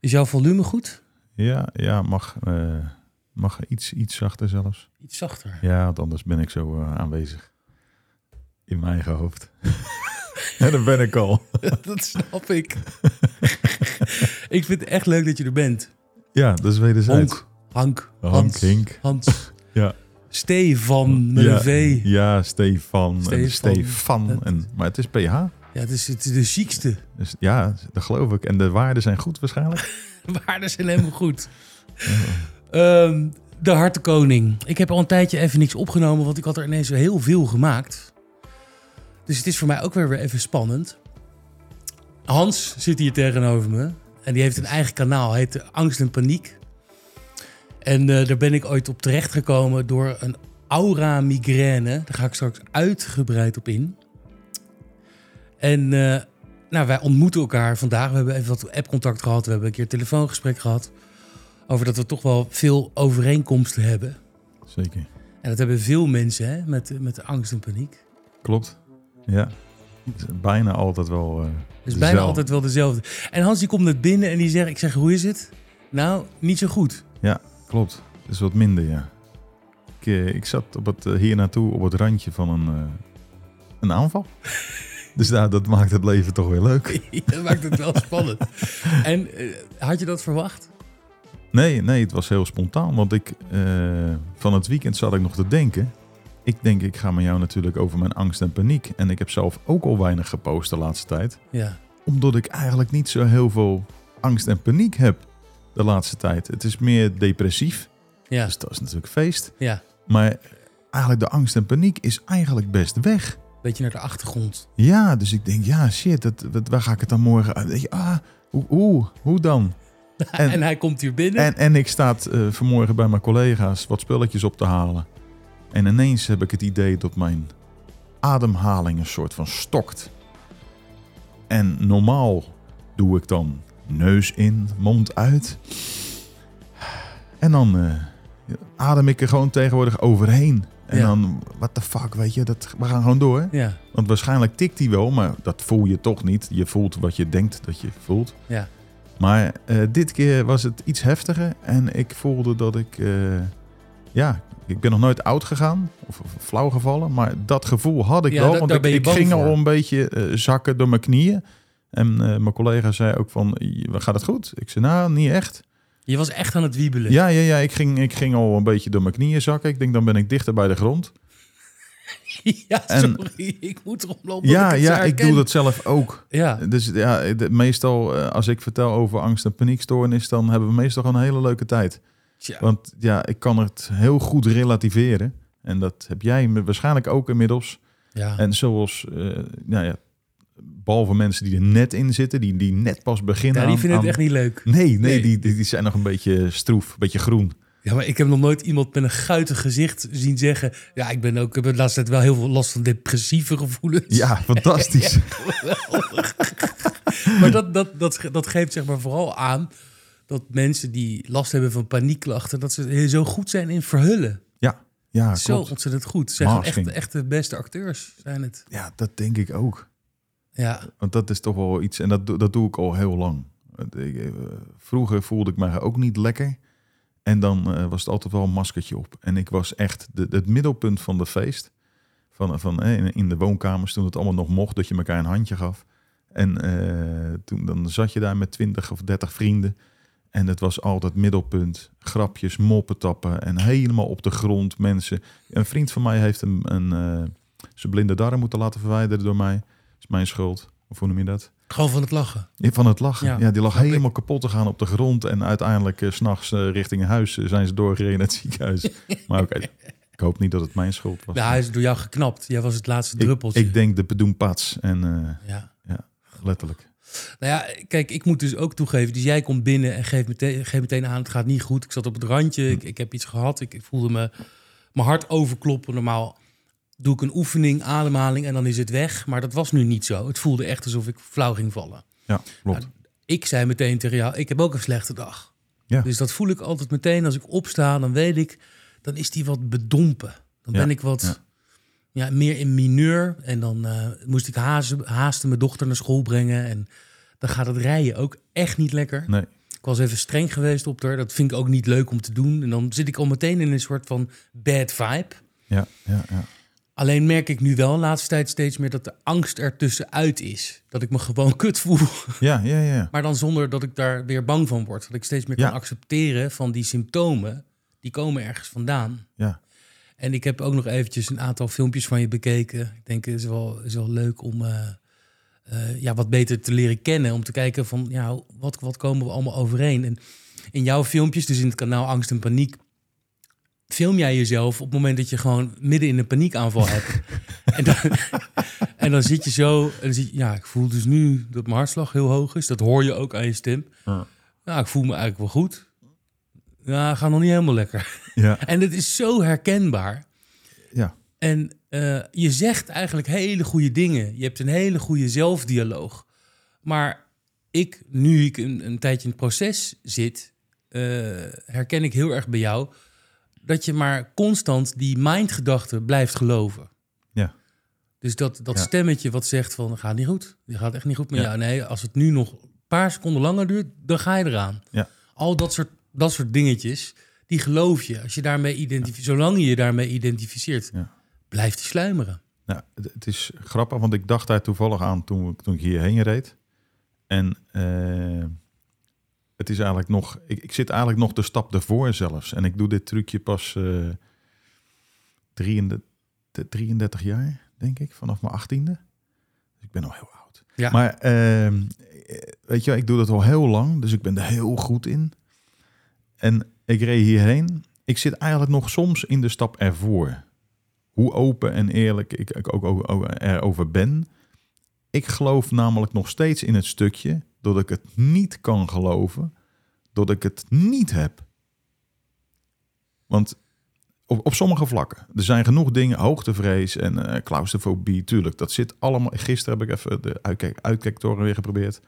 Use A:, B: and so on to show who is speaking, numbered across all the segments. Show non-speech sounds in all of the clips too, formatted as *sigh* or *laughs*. A: Is jouw volume goed?
B: Ja, ja mag, eh, mag iets, iets zachter zelfs.
A: Iets zachter.
B: Ja, want anders ben ik zo eh, aanwezig. In mijn eigen hoofd. *laughs* en dan ben ik al.
A: *laughs* dat snap ik. *laughs* ik vind het echt leuk dat je er bent.
B: Ja, dat is wederzijds.
A: Honk, Hank,
B: Honk,
A: Hans,
B: Hink.
A: Hans.
B: Ja.
A: Stefan met
B: ja,
A: een V.
B: Ja, Stefan.
A: Stefan.
B: En Stefan.
A: Dat-
B: En, maar het is PH.
A: Ja, het is, het is de ziekste.
B: Dus ja, dat geloof ik. En de waarden zijn goed
A: *laughs*
B: waarschijnlijk.
A: Waarden zijn helemaal goed. Ehm, de Hartenkoning. Ik heb al een tijdje even niks opgenomen, want ik had er ineens heel veel gemaakt. Dus het is voor mij ook weer weer even spannend. Hans zit hier tegenover me. En die heeft een eigen kanaal. Heet Angst en Paniek. En eh, daar ben ik ooit op terecht gekomen door een aura migraine. Daar ga ik straks uitgebreid op in. En eh, nou, wij ontmoeten elkaar vandaag. We hebben even wat appcontact gehad. We hebben een keer een telefoongesprek gehad. Over dat we toch wel veel overeenkomsten hebben.
B: Zeker.
A: En dat hebben veel mensen hè, met, met angst en paniek.
B: Klopt. Ja. Het is bijna altijd wel. eh,
A: Het is Dus bijna
B: dezelfde.
A: altijd wel dezelfde. En Hans die komt net binnen en die zegt, ik zeg, hoe is het? Nou, niet zo goed. *laughs*
B: Ja, klopt. Het is wat minder, ja. Ik, eh, ik zat op het, eh, hier naartoe op het randje van een, eh, een aanval. *laughs* dus nou, dat maakt het leven toch weer leuk.
A: dat maakt het wel
B: *laughs*
A: spannend. En eh, had je dat verwacht?
B: Nee, nee, het was heel spontaan. Want ik, eh, van het weekend zat ik nog te denken. Ik denk, ik ga met jou natuurlijk over mijn angst en paniek. En ik heb zelf ook al weinig gepost de laatste tijd.
A: Ja.
B: Omdat ik eigenlijk niet zo heel veel angst en paniek heb de laatste tijd. Het is meer depressief,
A: Ja.
B: dus dat is natuurlijk feest.
A: Ja.
B: Maar eigenlijk de angst en paniek is eigenlijk best weg.
A: Beetje naar de achtergrond.
B: Ja, dus ik denk, ja shit, dat, dat- waar ga ik het dan morgen uit? Weet je, Ah, hoe, hoe, hoe dan?
A: En,
B: En-
A: hij komt hier binnen.
B: En, en ik sta eh, vanmorgen bij mijn collega's wat spulletjes op te halen. En ineens heb ik het idee dat mijn ademhaling een soort van stokt. En normaal doe ik dan neus in, mond uit. En dan eh, adem ik er gewoon tegenwoordig overheen. En
A: Ja.
B: dan, what the fuck, weet je, dat, we gaan gewoon door.
A: Ja.
B: Want waarschijnlijk tikt hij wel, maar dat voel je toch niet. Je voelt wat je denkt dat je voelt.
A: Ja.
B: Maar eh, dit keer was het iets heftiger en ik voelde dat ik... eh, ja, ik ben nog nooit oud gegaan of, of flauw gevallen, maar dat gevoel had ik
A: Ja,
B: wel.
A: da-
B: want
A: daar
B: ik,
A: ben je
B: ik
A: bang
B: ging
A: voor.
B: al een beetje eh, zakken door mijn knieën. En eh, mijn collega zei ook van, gaat het goed? Ik zei, nou, niet echt.
A: Je was echt aan het wiebelen.
B: Ja, ja, ja ik, ging, ik ging al een beetje door mijn knieën zakken. Ik denk, dan ben ik dichter bij de grond.
A: *laughs* Ja,
B: En-
A: sorry. Ik moet erop lopen.
B: Ja,
A: want ik het
B: ja,
A: zo
B: ik
A: herken.
B: doe dat zelf ook.
A: Ja.
B: Dus ja, de- meestal eh, als ik vertel over angst en paniekstoornis, dan hebben we meestal gewoon een hele leuke tijd.
A: Tja.
B: Want ja, ik kan het heel goed relativeren. En dat heb jij me- waarschijnlijk ook inmiddels.
A: Ja.
B: En zoals, eh, nou ja, behalve mensen die er net in zitten, die, die net pas beginnen.
A: ja, die
B: aan-
A: vinden het
B: aan-
A: echt niet leuk.
B: Nee, nee,
A: Nee.
B: Die, die, die zijn nog een beetje stroef, een beetje
A: *laughs*
B: groen.
A: Ja, maar ik heb nog nooit iemand met een guitig gezicht zien zeggen... Ja, ik ben ook, ik heb de laatste tijd wel heel veel last van depressieve gevoelens.
B: Ja, fantastisch. ja,
A: *laughs* Maar dat, dat, dat, ge- dat geeft zeg maar vooral aan dat mensen die last hebben van paniekklachten... dat ze heel- zo goed zijn in verhullen.
B: ja,
A: zo
B: klopt.
A: ontzettend goed. Ze zijn echt,
B: Masking.
A: echt de beste acteurs, zijn het.
B: Ja, dat denk ik ook.
A: Ja,
B: Want dat is toch wel iets, en dat, doe- dat doe ik al heel lang. Want ik, eh, Vroeger voelde ik mij ook niet lekker. En dan eh, was het altijd wel een maskertje op. En ik was echt de, het middelpunt van de feest. Van, van, eh, in- in de woonkamers, toen het allemaal nog mocht, dat je elkaar een handje gaf. En eh, toen dan zat je daar met twintig of dertig vrienden. En het was altijd middelpunt. Grapjes, moppen tappen en helemaal op de grond mensen. Een vriend van mij heeft een, een, eh, zijn blinde darm moeten laten verwijderen door mij. is mijn schuld. Of hoe noem je dat?
A: gewoon van het lachen.
B: Ja, Van het lachen.
A: Ja,
B: Ja, die lag
A: snap ik.
B: helemaal kapot te gaan op de grond. En uiteindelijk eh, 's s'nachts richting huis eh, zijn ze doorgereden naar het
A: *laughs*
B: ziekenhuis. maar oké, ik hoop niet dat het mijn schuld was.
A: Ja, hij is door jou geknapt. Jij was het laatste
B: ik,
A: druppeltje.
B: ik denk de bedoenpaats. En eh,
A: Ja.
B: letterlijk.
A: Nou ja, kijk, ik moet dus ook toegeven. Dus jij komt binnen en geeft meteen, geeft meteen aan, het gaat niet goed. Ik zat op het randje, ik, ik heb iets gehad. Ik, ik voelde me, mijn hart overkloppen. Normaal doe ik een oefening, ademhaling en dan is het weg. Maar dat was nu niet zo. Het voelde echt alsof ik flauw ging vallen.
B: Ja, klopt.
A: Ik zei meteen tegen jou, ik heb ook een slechte dag.
B: Ja.
A: Dus dat voel ik altijd meteen. Als ik opsta, dan weet ik, dan is die wat bedompen. Dan
B: Ja,
A: ben ik wat ja.
B: ja.
A: meer in mineur. En dan eh, moest ik haasten, haasten mijn dochter naar school brengen. En dan gaat het rijden ook echt niet lekker.
B: Nee,
A: Ik was even streng geweest op haar. Dat vind ik ook niet leuk om te doen. En dan zit ik al meteen in een soort van bad vibe.
B: Ja, ja, ja.
A: Alleen merk ik nu wel de laatste tijd steeds meer dat de angst ertussenuit is. Dat ik me gewoon *laughs* kut voel.
B: Ja, ja, ja.
A: Maar dan zonder dat ik daar weer bang van word. Dat ik steeds meer
B: Ja.
A: kan accepteren van die symptomen. Die komen ergens vandaan.
B: Ja,
A: En ik heb ook nog eventjes een aantal filmpjes van je bekeken. Ik denk, het is wel, is wel leuk om eh, eh, ja, wat beter te leren kennen. Om te kijken van, ja, wat, wat komen we allemaal overeen? En in jouw filmpjes, dus in het kanaal Angst en Paniek... film jij jezelf op het moment dat je gewoon midden in een paniekaanval hebt. en, dan, en dan zit je zo... En dan zit je, ja, ik voel dus nu dat mijn hartslag heel hoog is. Dat hoor je ook aan je stem.
B: Ja.
A: Nou, ik voel me eigenlijk wel goed. Ja, ga nog niet helemaal lekker. *laughs*
B: ja.
A: En het is zo herkenbaar.
B: ja.
A: En eh, je zegt eigenlijk hele goede dingen. Je hebt een hele goede zelfdialoog. Maar ik, nu ik een, een tijdje in het proces zit, eh, herken ik heel erg bij jou dat je maar constant die mindgedachten blijft geloven.
B: Ja.
A: Dus dat, dat
B: Ja.
A: stemmetje wat zegt van, gaat niet goed. Je gaat echt niet goed met
B: Ja.
A: jou. Nee, als het nu nog een paar seconden langer duurt, dan ga je eraan.
B: Ja.
A: Al dat soort, dat soort dingetjes, die geloof je. Als je daarmee identif- Zolang je je daarmee identificeert,
B: Ja.
A: blijft die sluimeren.
B: Nou, het, het is grappig, want ik dacht daar toevallig aan toen, ik- toen ik hierheen reed. En eh, het is eigenlijk nog, ik, ik zit eigenlijk nog de stap ervoor zelfs. En ik doe dit trucje pas eh 33, 33 jaar, denk ik, vanaf mijn achttiende. Dus ik ben al heel oud.
A: Ja.
B: Maar eh, weet je, wel, ik doe dat al heel lang, dus ik ben er heel goed in. En ik reed hierheen. Ik zit eigenlijk nog soms in de stap ervoor hoe open en eerlijk ik, ik ook, ook, ook erover ben. Ik geloof namelijk nog steeds in het stukje dat ik het niet kan geloven, dat ik het niet heb. Want op, op sommige vlakken, er zijn genoeg dingen, hoogtevrees en eh claustrofobie, tuurlijk, dat zit allemaal. Gisteren heb ik even de uitkijk, uitkijktoren weer geprobeerd.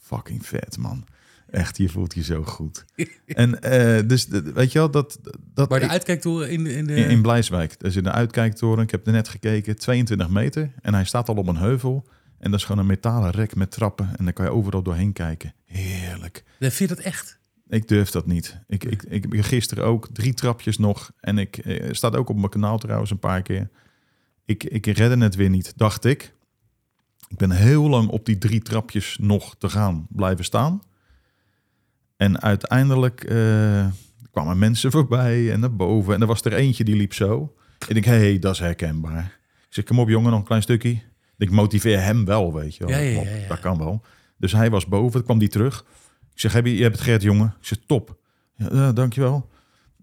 B: Fucking vet, man. Echt, je voelt je zo goed. en eh, dus, de- weet je wel, dat... dat
A: Waar de
B: ik-
A: uitkijktoren in, in de...
B: in, Dus in Blijswijk. Er zit een uitkijktoren. Ik heb er net gekeken. 22 meter. En hij staat al op een heuvel. En dat is gewoon een metalen rek met trappen. En dan kan je overal doorheen kijken. Heerlijk.
A: Vind je dat echt?
B: Ik durf dat niet. Ik, ik, ik gisteren ook drie trapjes nog. En ik eh, staat ook op mijn kanaal trouwens een paar keer. Ik, ik redde het weer niet, dacht ik. Ik ben heel lang op die drie trapjes nog te gaan blijven staan. En uiteindelijk eh, kwamen mensen *laughs* voorbij en naar boven. En er was er eentje die liep zo. Ik denk, hé, hey, dat is herkenbaar. Ik zeg, kom op jongen, nog een klein stukje. Ik motiveer hem wel, weet je wel.
A: Ja, ja,
B: Kom op,
A: ja, ja.
B: Dat kan wel. Dus hij was boven, toen kwam die terug. Ik zeg, heb je, je hebt het gered, jongen. Ik zeg, top. Ja, eh, dankjewel.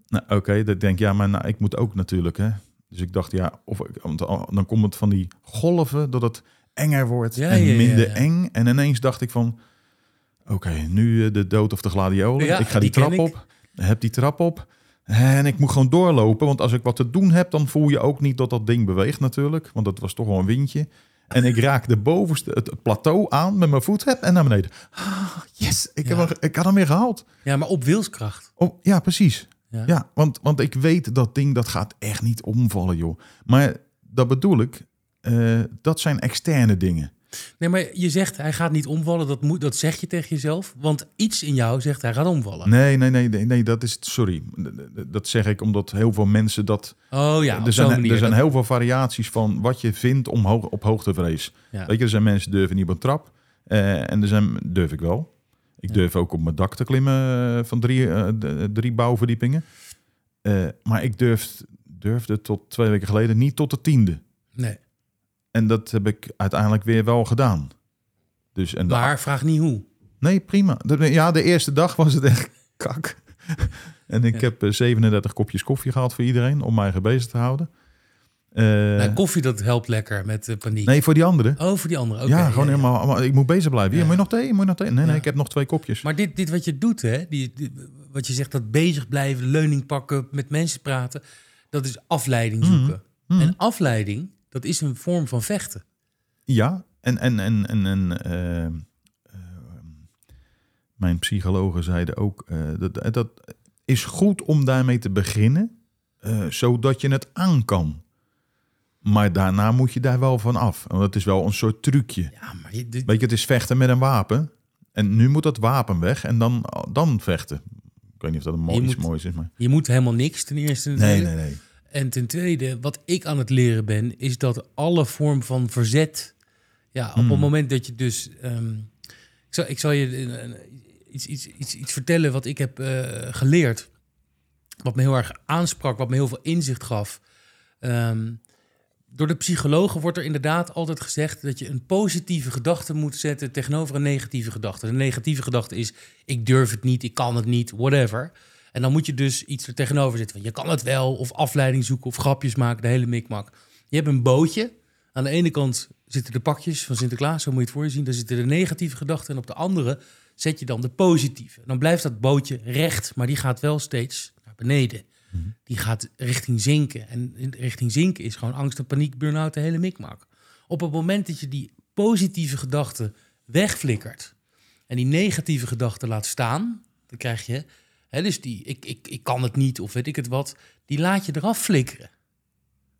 B: Nou, oké, dat denk ik, ja, maar nou, ik moet ook natuurlijk, hè. Dus ik dacht, ja, of, ik- want dan komt het van die golven dat het enger wordt
A: Ja,
B: en
A: ja, ja,
B: minder
A: ja.
B: eng. En ineens dacht ik van, oké, nu eh, de dood of de gladiolen.
A: Ja,
B: ik ga die,
A: die ken
B: trap
A: ik.
B: op, heb die trap op. En ik moet gewoon doorlopen, want als ik wat te doen heb, dan voel je ook niet dat dat ding beweegt natuurlijk. Want dat was toch wel een windje. En ik raak de bovenste, het plateau aan met mijn voet heb en naar beneden. Ah, yes, ik,
A: Ja.
B: heb hem, ik had hem weer gehaald.
A: Ja, maar op wilskracht.
B: Oh, ja, precies.
A: Ja.
B: Ja, want, want ik weet dat ding dat gaat echt niet omvallen, joh. Maar dat bedoel ik, eh, dat zijn externe dingen.
A: Nee, maar je zegt hij gaat niet omvallen. Dat, moet, dat zeg je tegen jezelf. Want iets in jou zegt hij gaat omvallen.
B: Nee, nee, nee, nee, nee dat is het. Sorry. Dat zeg ik omdat heel veel mensen dat.
A: Oh ja, op
B: er
A: zo'n
B: zijn,
A: manier.
B: er zijn
A: Dat-
B: heel veel variaties van wat je vindt om hoog, op hoogtevrees.
A: Ja.
B: Weet je, er zijn mensen die durven niet op een trap. eh, en er zijn, durf ik wel. Ik
A: Ja.
B: durf ook op mijn dak te klimmen eh, van drie, eh, d- drie bouwverdiepingen. Eh, maar ik durf, durfde tot twee weken geleden niet tot de tiende.
A: nee.
B: En dat heb ik uiteindelijk weer wel gedaan. Dus, en de-
A: Maar vraag niet hoe.
B: Nee, prima. De- Ja, de eerste dag was het echt *laughs* kak. en ik
A: Ja.
B: heb eh, 37 kopjes koffie gehad voor iedereen om mij bezig te houden. Eh,
A: Nou, koffie, dat helpt lekker met eh, paniek.
B: nee, voor die anderen.
A: Oh, voor die andere. Oké,
B: ja, gewoon
A: ja.
B: helemaal. maar Ik moet bezig blijven. Hier,
A: Ja.
B: moet je nog thee? Moet je nog thee? Nee,
A: Ja.
B: nee, ik heb nog twee kopjes.
A: Maar dit, dit wat je doet, hè? Die, die- wat je zegt, dat bezig blijven, leuning pakken, met mensen praten. Dat is afleiding zoeken.
B: Mhm.
A: En afleiding, dat is een vorm van vechten.
B: Ja, en, en, en, en, en eh, eh, mijn psychologen zeiden ook, eh, dat, dat is goed om daarmee te beginnen, eh, zodat je het aan kan. Maar daarna moet je daar wel van af. Want het is wel een soort trucje.
A: Ja, maar je, dit-
B: Weet je, het is vechten met een wapen. En nu moet dat wapen weg en dan, dan vechten. Ik weet niet of dat een mooi,
A: Je
B: iets
A: moet-
B: moois is, maar...
A: Je moet helemaal niks ten eerste.
B: Nee,
A: natuurlijk.
B: nee, nee.
A: En ten tweede, wat ik aan het leren ben, is dat alle vorm van verzet. Ja, op het moment dat je dus. ehm, ik, zal, ik zal je een- een- iets, iets, iets, iets vertellen wat ik heb eh, geleerd. Wat me heel erg aansprak, wat me heel veel inzicht gaf. Ehm, door de psychologen wordt er inderdaad altijd gezegd dat je een positieve gedachte moet zetten tegenover een negatieve gedachte. De negatieve gedachte is: ik durf het niet, ik kan het niet, whatever. En dan moet je dus iets er tegenover zetten. Van, je kan het wel, of afleiding zoeken, of grapjes maken, de hele mikmak. Je hebt een bootje. Aan de ene kant zitten de pakjes van Sinterklaas, zo moet je het voor je zien. Daar zitten de negatieve gedachten. En op de andere zet je dan de positieve. Dan blijft dat bootje recht, maar die gaat wel steeds naar beneden. Die gaat richting zinken. En in- richting zinken is gewoon angst en paniek, burn-out, de hele mikmak. Op het moment dat je die positieve gedachten wegflikkert en die negatieve gedachten laat staan, dan krijg je, hè, dus die ik, ik, ik kan het niet of weet ik het wat, die laat je eraf flikkeren.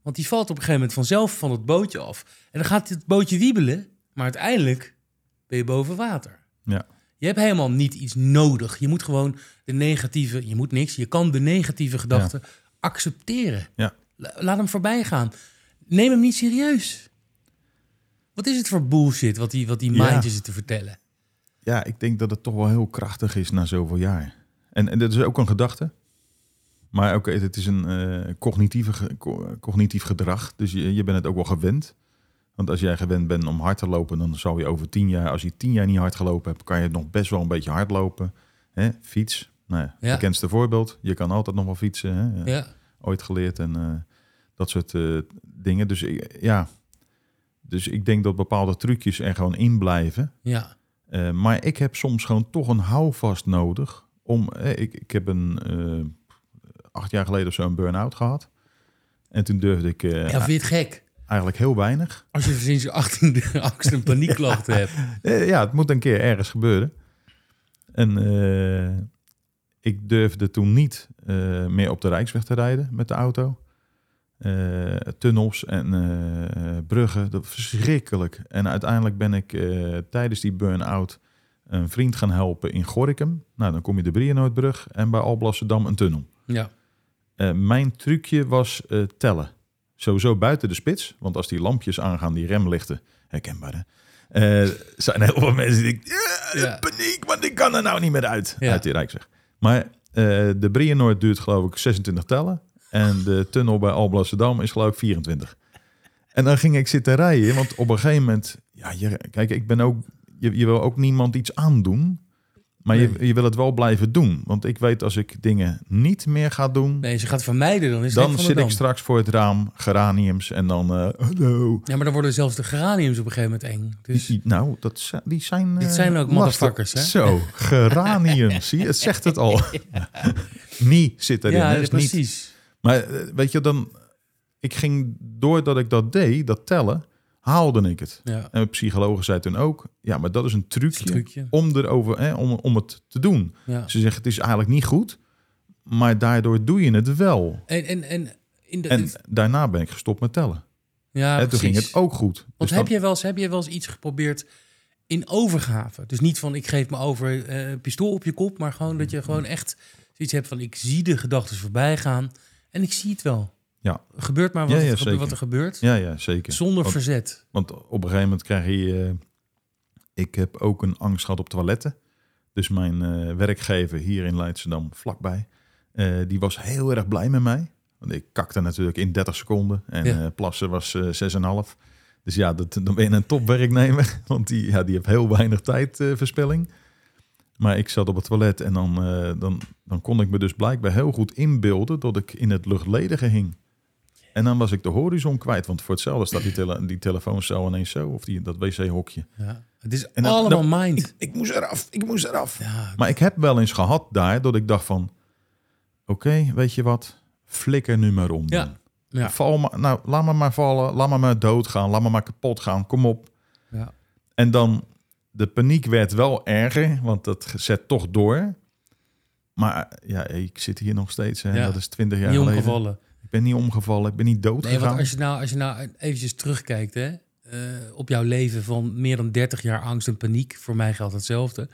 A: Want die valt op een gegeven moment vanzelf van het bootje af. En dan gaat het bootje wiebelen, maar uiteindelijk ben je boven water.
B: Ja.
A: Je hebt helemaal niet iets nodig. Je moet gewoon de negatieve, je moet niks. Je kan de negatieve gedachten accepteren.
B: Ja.
A: La- Laat hem voorbij gaan. Neem hem niet serieus. Wat is het voor bullshit wat die, wat die
B: Ja.
A: mindjes zitten te vertellen?
B: ja, ik denk dat het toch wel heel krachtig is na zoveel jaar. En, en dat is ook een gedachte. Maar oké, het is een eh, cognitieve, ge- co- cognitief gedrag. Dus je, je bent het ook wel gewend. Want als jij gewend bent om hard te lopen, dan zal je over tien jaar, als je tien jaar niet hard gelopen hebt, kan je nog best wel een beetje hard lopen. Hè? Fiets, nou ja,
A: Ja.
B: bekendste voorbeeld. Je kan altijd nog wel fietsen. Hè?
A: Ja.
B: ooit geleerd en eh, dat soort eh, dingen. Dus ik- ja, dus ik denk dat bepaalde trucjes er gewoon in blijven.
A: Ja.
B: Eh, maar ik heb soms gewoon toch een houvast nodig. Om, eh, ik, ik heb een, eh, acht jaar geleden of zo een burn-out gehad. En toen durfde ik eh,
A: ja. vind je het gek?
B: eigenlijk heel weinig.
A: Als je sinds je 18e angst en paniekklachten hebt.
B: Eh, ja, het moet een keer ergens gebeuren. En eh, ik durfde toen niet eh, meer op de Rijksweg te rijden met de auto. Eh, tunnels en eh, bruggen, dat was verschrikkelijk. En uiteindelijk ben ik eh, tijdens die burn-out een vriend gaan helpen in Gorinchem. Nou, dan kom je de Brienoordbrug en bij Alblasserdam een tunnel.
A: Ja.
B: Eh, mijn trucje was eh, tellen. Sowieso buiten de spits. Want als die lampjes aangaan, die remlichten. Herkenbaar, hè? Eh, zijn heel veel mensen die denken... "Ja,
A: Ja.
B: paniek, want ik kan er nou niet meer uit.
A: Ja.
B: Uit die Rijksweg. Maar eh, de Brienoord duurt geloof ik 26 tellen. En de tunnel bij Alblasserdam is geloof ik 24. En dan ging ik zitten rijden. Want op een gegeven moment... Ja, je, kijk, ik ben ook... Je, je wil ook niemand iets aandoen. Maar je,
A: Nee.
B: je wil het wel blijven doen. Want ik weet als ik dingen niet meer ga doen...
A: Nee, ze gaat vermijden, dan is het
B: Dan
A: Henk van
B: zit
A: der
B: ik
A: Dam.
B: straks voor het raam, geraniums en dan... eh, hallo.
A: Ja, maar dan worden zelfs de geraniums op een gegeven moment eng. Dus
B: Die- Nou, dat, zi- die zijn... eh,
A: Dit zijn ook motherfuckers, hè?
B: Zo, geraniums. Zie je, het zegt het
A: *laughs*
B: al. Nie zit erin. hè,
A: ja,
B: is niet-
A: precies.
B: Maar eh, weet je, dan... Ik ging, doordat ik dat deed, dat tellen, haalde ik het.
A: Ja,
B: En mijn psychologen zei toen ook... Ja, maar dat is een trucje,
A: trucje.
B: Om, erover, hè, om, om het te doen.
A: ja.
B: Ze zeggen, het is eigenlijk niet goed... Maar daardoor doe je het wel.
A: En, en, en, in de,
B: En daarna ben ik gestopt met tellen.
A: ja,
B: en toen ging
A: precies.
B: het ook goed.
A: Want
B: Dus
A: heb,
B: dan-
A: jij wel eens, heb jij wel eens iets geprobeerd in overgave? Dus niet van ik geef me over eh, een pistool op je kop, maar gewoon dat je gewoon
B: Mm-hmm.
A: echt zoiets hebt van ik zie de gedachten voorbij gaan en ik zie het wel.
B: Ja.
A: Gebeurt maar wat,
B: Ja, ja,
A: het gebe- wat er
B: zeker.
A: gebeurt.
B: Ja, ja, zeker.
A: Zonder
B: want,
A: verzet.
B: want op een gegeven moment krijg je... eh, ik heb ook een angst gehad op toiletten. Dus mijn eh, werkgever hier in Leidschendam, vlakbij... eh, die was heel erg blij met mij. Want ik kakte natuurlijk in 30 seconden. En
A: Ja.
B: eh, plassen was eh 6,5. Dus ja, dat, dan ben je een topwerknemer. *laughs* Want die, ja, die heeft heel weinig tijdverspilling. maar ik zat op het toilet en dan, eh, dan, dan kon ik me dus blijkbaar heel goed inbeelden... dat ik in het luchtledige hing. En dan was ik de horizon kwijt. Want voor hetzelfde staat die, tele die telefooncel ineens zo. Of die, dat wc-hokje.
A: Ja. Het is
B: dan-
A: allemaal mind.
B: Ik, ik moest eraf, ik moest eraf.
A: Ja,
B: Maar ik heb wel eens gehad daar dat ik dacht van... Oké, weet je wat? Flikker nu maar om.
A: Ja,
B: dan.
A: ja.
B: Val maar, nou, laat me maar vallen. Laat me maar doodgaan. Laat me maar kapot gaan. Kom op.
A: ja.
B: En dan, de paniek werd wel erger. Want dat zet toch door. Maar ja, ik zit hier nog steeds. Hè.
A: Ja.
B: Dat is twintig jaar
A: niet
B: geleden.
A: omgevallen.
B: Ik ben niet omgevallen. Ik ben niet dood
A: Nee,
B: gegaan.
A: want als je nou, als je nou eventjes terugkijkt, hè, eh, op jouw leven van meer dan 30 jaar angst en paniek, voor mij geldt hetzelfde.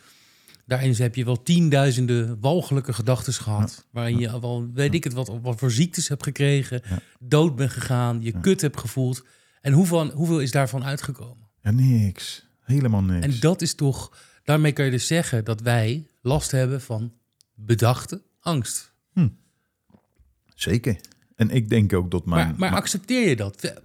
A: Daarin heb je wel tienduizenden walgelijke gedachten gehad. Waarin je wel, weet ik het, wat, wat voor ziektes hebt gekregen,
B: Ja.
A: dood bent gegaan, je kut hebt gevoeld. En hoeveel, hoeveel is daarvan uitgekomen?
B: Ja, niks. Helemaal niks.
A: En dat is toch, daarmee kan je dus zeggen dat wij last hebben van bedachte angst.
B: Zeker. En ik denk ook dat mijn...
A: Maar, maar accepteer je dat?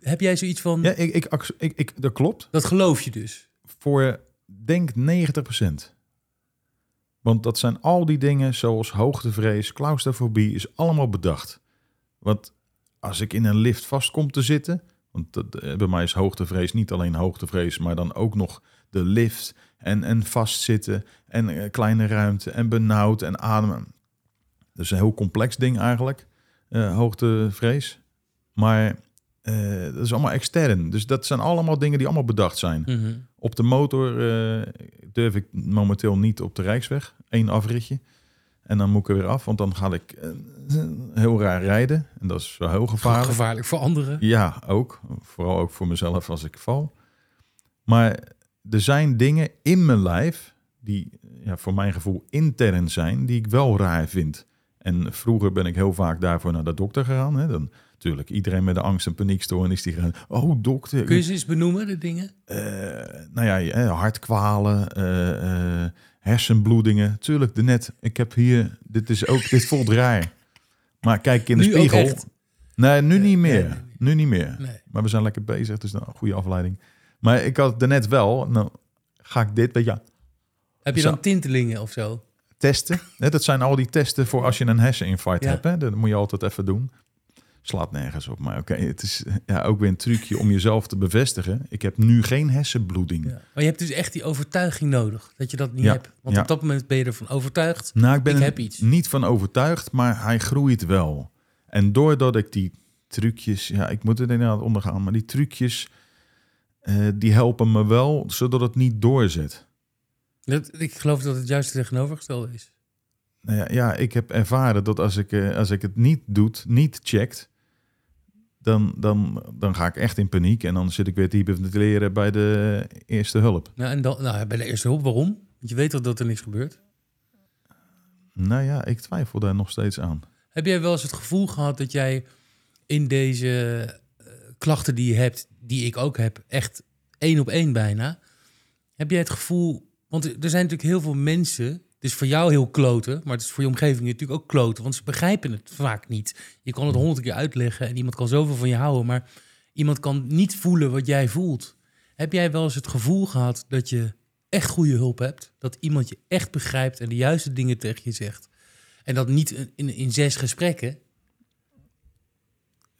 A: Heb jij zoiets van,
B: ja, ik, ik, acce- ik, ik, dat klopt.
A: dat geloof je dus?
B: Voor, denk 90%. Want dat zijn al die dingen zoals hoogtevrees, claustrofobie, is allemaal bedacht. Want als ik in een lift vast kom te zitten... Want dat, eh, bij mij is hoogtevrees niet alleen hoogtevrees, maar dan ook nog de lift en, en vastzitten en eh, kleine ruimte en benauwd en ademen. Dat is een heel complex ding eigenlijk, eh, hoogtevrees. Maar eh, dat is allemaal extern. Dus dat zijn allemaal dingen die allemaal bedacht zijn.
A: Mhm.
B: Op de motor eh, durf ik momenteel niet op de Rijksweg. Eén afritje. En dan moet ik er weer af, want dan ga ik eh, heel raar rijden. En dat is wel heel gevaarlijk.
A: Gevaarlijk voor anderen.
B: Ja, ook. Vooral ook voor mezelf als ik val. Maar er zijn dingen in mijn lijf die ja, voor mijn gevoel intern zijn, die ik wel raar vind. En vroeger ben ik heel vaak daarvoor naar de dokter gegaan. Hè. Dan, natuurlijk, iedereen met een angst- en paniekstoornis die gaan... Oh, dokter,
A: Kun je ze eens benoemen, de dingen?
B: eh, nou ja, je- eh, hartkwalen, eh, eh, hersenbloedingen. Tuurlijk, de net. Ik heb hier, dit is ook, dit voelt raar. Maar kijk ik in de
A: Nu ook
B: spiegel.
A: echt?
B: Nee, nu niet meer.
A: nee, nee.
B: Nu niet meer.
A: Nee.
B: Maar we zijn lekker bezig, dus nou, een goede afleiding. Maar ik had er net wel, nou ga ik dit, weet je,
A: Heb je dan
B: Zo.
A: tintelingen of zo?
B: testen. *laughs* Hè, dat zijn al die testen voor als je een herseninfarct
A: Ja.
B: hebt. Hè? Dat moet je altijd even doen. Slaat nergens op, maar oké, het is ja, ook weer een trucje om jezelf te bevestigen. Ik heb nu geen hersenbloeding.
A: Ja. Maar je hebt dus echt die overtuiging nodig dat je dat niet
B: Ja,
A: hebt. Want
B: ja.
A: op dat moment ben je ervan overtuigd.
B: Nou, ik ben
A: Ik
B: er
A: heb iets.
B: niet van overtuigd, maar hij groeit wel. En doordat ik die trucjes, ja, ik moet het inderdaad ondergaan, maar die trucjes, eh, die helpen me wel, zodat het niet doorzet.
A: Dat, ik geloof dat het juist het tegenovergestelde is.
B: Nou ja, ja, ik heb ervaren dat als ik, eh, als ik het niet doet, niet checkt, dan, dan, dan ga ik echt in paniek en dan zit ik weer te hyperventileren bij de eerste hulp.
A: Nou, en dan, nou, bij de eerste hulp, waarom? Want je weet toch dat er niks gebeurt.
B: Nou ja, ik twijfel daar nog steeds aan.
A: Heb jij wel eens het gevoel gehad dat jij in deze eh, klachten die je hebt, die ik ook heb, echt één op één bijna. Heb jij het gevoel, want er zijn natuurlijk heel veel mensen, het is voor jou heel kloten, maar het is voor je omgeving natuurlijk ook kloten, want ze begrijpen het vaak niet. Je kan het honderd keer uitleggen en iemand kan zoveel van je houden, maar iemand kan niet voelen wat jij voelt. Heb jij wel eens het gevoel gehad dat je echt goede hulp hebt, dat iemand je echt begrijpt en de juiste dingen tegen je zegt? En dat niet in, in, in zes gesprekken.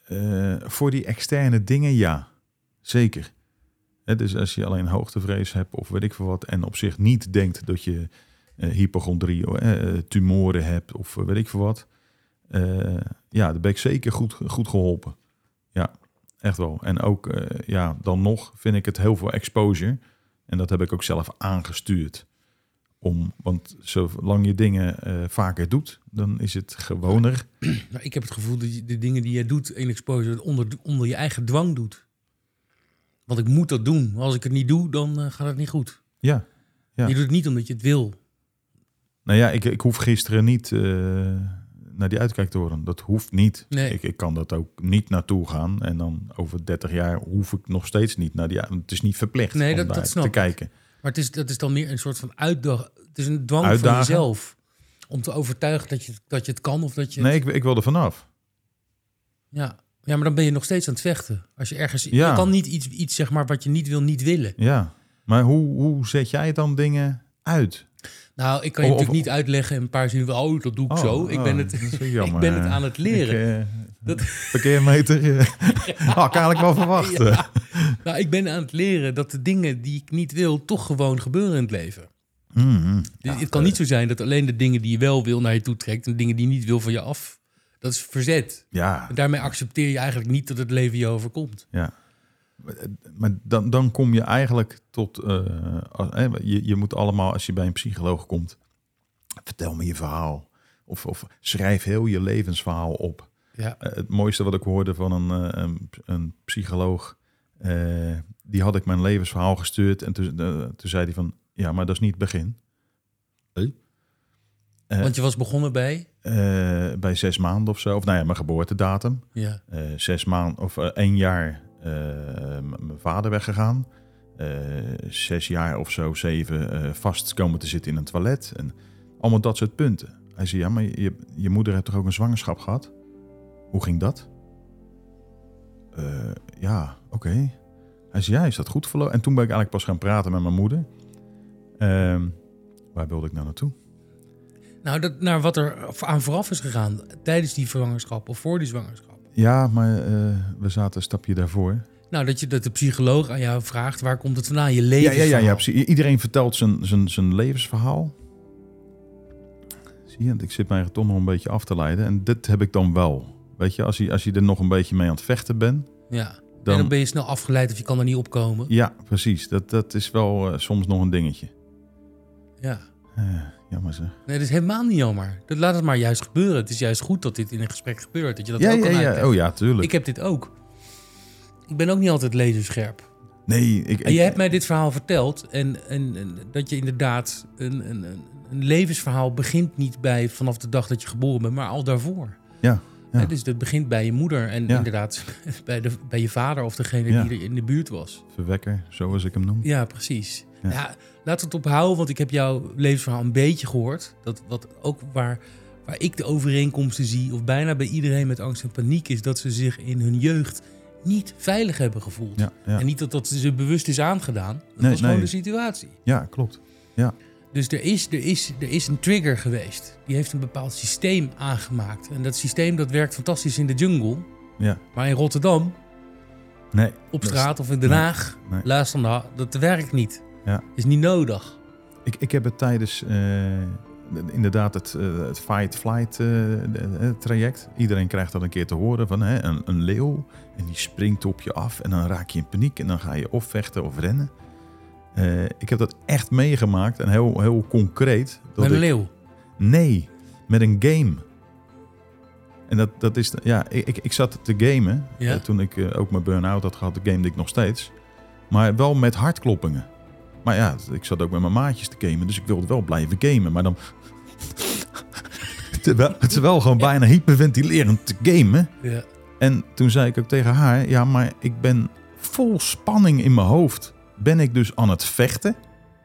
B: Eh, voor die externe dingen, ja. Zeker. Hè, dus als je alleen hoogtevrees hebt of weet ik veel wat... en op zich niet denkt dat je eh, hypochondrie, eh, tumoren hebt of eh, weet ik veel wat... eh, ja, dan ben ik zeker goed, goed geholpen. Ja, echt wel. En ook, eh, ja, dan nog vind ik het heel veel exposure. En dat heb ik ook zelf aangestuurd. Om, want zolang je dingen eh, vaker doet, dan is het gewoner...
A: Maar Nou, ik heb het gevoel dat je de dingen die jij doet in exposure onder, onder je eigen dwang doet. Want ik moet dat doen. Als ik het niet doe, dan eh, gaat het niet goed.
B: Ja, ja.
A: Je doet het niet omdat je het wil.
B: Nou ja, ik, ik hoef gisteren niet eh, naar die uitkijktoren. Dat hoeft niet.
A: Nee.
B: Ik, ik kan dat ook niet naartoe gaan. En dan over 30 jaar hoef ik nog steeds niet naar die... want Het is niet verplicht
A: Nee,
B: om
A: dat- dat
B: daar
A: snap
B: te
A: ik.
B: kijken.
A: Maar het is, dat is dan meer een soort van uitdag. Het is een dwang van
B: Uitdagen?
A: jezelf. Om te overtuigen dat je, dat je het kan of dat je...
B: Nee, ik, ik wil er vanaf.
A: Ja. ja, maar dan ben je nog steeds aan het vechten. Als je ergens...
B: Ja.
A: Je kan niet iets, iets zeg maar, wat je niet wil, niet willen.
B: Ja. Maar hoe, hoe zet jij dan dingen uit?
A: Nou, ik kan je
B: Of-
A: natuurlijk
B: of-
A: niet uitleggen in een paar zinnen. Oh, dat doe ik zo. Ik ben,
B: oh,
A: het,
B: dat is
A: *laughs*
B: wel
A: ik
B: jammer.
A: ben het aan het leren.
B: Ik, eh, *laughs* Parkeermeter. eh, *laughs* had ik eigenlijk wel verwacht.
A: *laughs* Ja. Nou, ik ben aan het leren dat de dingen die ik niet wil, toch gewoon gebeuren in het leven.
B: Mhm.
A: Dus het kan niet zo zijn dat alleen de dingen die je wel wil naar je toe trekt en de dingen die je niet wil van je af. Dat is verzet.
B: Ja,
A: En daarmee accepteer je eigenlijk niet dat het leven je overkomt.
B: Ja. Maar, eh, Maar dan, dan kom je eigenlijk tot... eh, als- eh, je, je moet allemaal, als je bij een psycholoog komt... Vertel me je verhaal. Of, of schrijf heel je levensverhaal op.
A: Ja.
B: Eh, het mooiste wat ik hoorde van een, eh, een, een psycholoog... Eh, die had ik mijn levensverhaal gestuurd. En toen, eh, toen zei hij van, ja, maar dat is niet het begin. Eh.
A: Want je was begonnen bij...
B: Eh, bij zes maanden of zo. Of nou ja, mijn geboortedatum.
A: Ja,
B: eh, zes maanden of eh, één jaar eh, m- mijn vader weggegaan. Eh, zes jaar of zo, zeven eh, vast komen te zitten in een toilet. En allemaal dat soort punten. Hij zei: Ja, maar je, je moeder heeft toch ook een zwangerschap gehad? Hoe ging dat? "Eh, ja, oké. Hij zei: Ja, is dat goed verlopen? En toen ben ik eigenlijk pas gaan praten met mijn moeder. Ehm, waar wilde ik nou naartoe?
A: nou, dat, naar wat er aan vooraf is gegaan tijdens die zwangerschap of voor die zwangerschap.
B: Ja, maar eh, we zaten een stapje daarvoor.
A: Nou, dat, je, dat de psycholoog aan jou vraagt, waar komt het vandaan? Je leven.
B: Ja, ja, ja, ja, precies. I- Iedereen vertelt zijn, zijn, zijn levensverhaal. Zie je, ik zit mijn eigen toch nog een beetje af te leiden. En dit heb ik dan wel. Weet je, als je, als je er nog een beetje mee aan het vechten bent.
A: En dan
B: Dan-
A: ben je snel afgeleid of je kan er niet opkomen.
B: Ja, precies. Dat, dat is wel eh, soms nog een dingetje.
A: Ja.
B: Eh, jammer zeg.
A: Nee, dat is helemaal niet jammer. Dat laat het maar juist gebeuren. Het is juist goed dat dit in een gesprek gebeurt. Dat je dat
B: ja,
A: ook kan
B: ja, ja.
A: uitleggen.
B: Oh ja, tuurlijk.
A: Ik heb dit ook. Ik ben ook niet altijd laserscherp.
B: nee, ik,
A: En
B: ik-
A: je hebt mij dit verhaal verteld. En, en, en dat je inderdaad... Een, een, een- een levensverhaal begint niet bij vanaf de dag dat je geboren bent, maar al daarvoor.
B: Ja, ja.
A: Hè, dus dat begint bij je moeder en
B: Ja.
A: inderdaad *laughs* bij, de, bij je vader of degene
B: Ja.
A: die er in de buurt was.
B: Verwekker, zoals ik hem noem.
A: Ja, precies. Ja.
B: Ja.
A: laten we het ophouden, want ik heb jouw levensverhaal een beetje gehoord. Dat wat ook waar, waar ik de overeenkomsten zie, of bijna bij iedereen met angst en paniek, is dat ze zich in hun jeugd niet veilig hebben gevoeld.
B: Ja, ja.
A: En niet dat dat ze bewust is aangedaan. Dat
B: Nee,
A: was gewoon
B: nee.
A: de situatie.
B: ja klopt.
A: Dus er is, er, is, er is een trigger geweest. Die heeft een bepaald systeem aangemaakt. En dat systeem dat werkt fantastisch in de jungle.
B: Ja.
A: Maar in Rotterdam,
B: Nee.
A: op
B: dat is-
A: straat of in Den
B: nee,
A: Haag,
B: nee.
A: luister naar, dat werkt niet.
B: Ja.
A: Is niet nodig.
B: Ik, ik heb het tijdens eh, inderdaad het, eh, het fight-flight eh, de- eh, traject. Iedereen krijgt dat een keer te horen van hè, een, een leeuw. En die springt op je af en dan raak je in paniek. En dan ga je of vechten of rennen. Eh, ik heb dat echt meegemaakt en heel, heel concreet. Dat
A: Met een
B: ik-
A: leeuw.
B: Nee, met een game. En dat, dat is, ja, ik, ik- ik zat te gamen
A: Ja.
B: eh, toen ik eh, ook mijn burn-out had gehad, gamede ik nog steeds. Maar wel met hartkloppingen. Maar ja, ik zat ook met mijn maatjes te gamen, dus ik wilde wel blijven gamen. Maar dan. *laughs* terwijl, terwijl gewoon bijna hyperventilerend te gamen.
A: Ja.
B: En toen zei ik ook tegen haar: Ja, maar ik ben vol spanning in mijn hoofd. Ben ik dus aan het vechten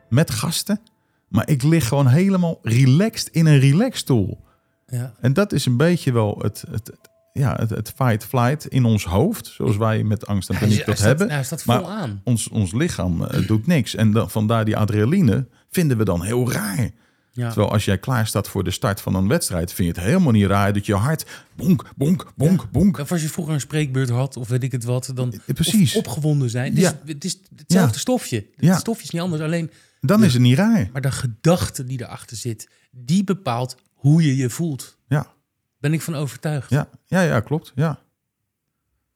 B: met gasten. Maar ik lig gewoon helemaal relaxed in een relaxstoel.
A: Ja,
B: En dat is een beetje wel het, het, het- ja, het, het fight-flight in ons hoofd. Zoals wij met angst en
A: Hij
B: paniek
A: staat-
B: dat hebben.
A: Hij staat nou, vol
B: Maar-
A: aan.
B: Ons, ons lichaam eh, doet niks. En dan, vandaar die adrenaline vinden we dan heel raar.
A: Ja.
B: Terwijl als jij klaar staat voor de start van een wedstrijd... vind je het helemaal niet raar dat je hart bonk, bonk, bonk, bonk...
A: Of als je vroeger een spreekbeurt had, of weet ik het wat, dan
B: Eh, Precies.
A: of opgewonden zijn. Het,
B: Ja.
A: is, het is hetzelfde
B: Ja.
A: stofje. Het
B: Ja.
A: stofje is niet anders, alleen
B: Dan is het niet raar.
A: maar de gedachte die erachter zit, die bepaalt hoe je je voelt.
B: Ja,
A: Ben ik van overtuigd.
B: ja, ja, ja klopt. Ja.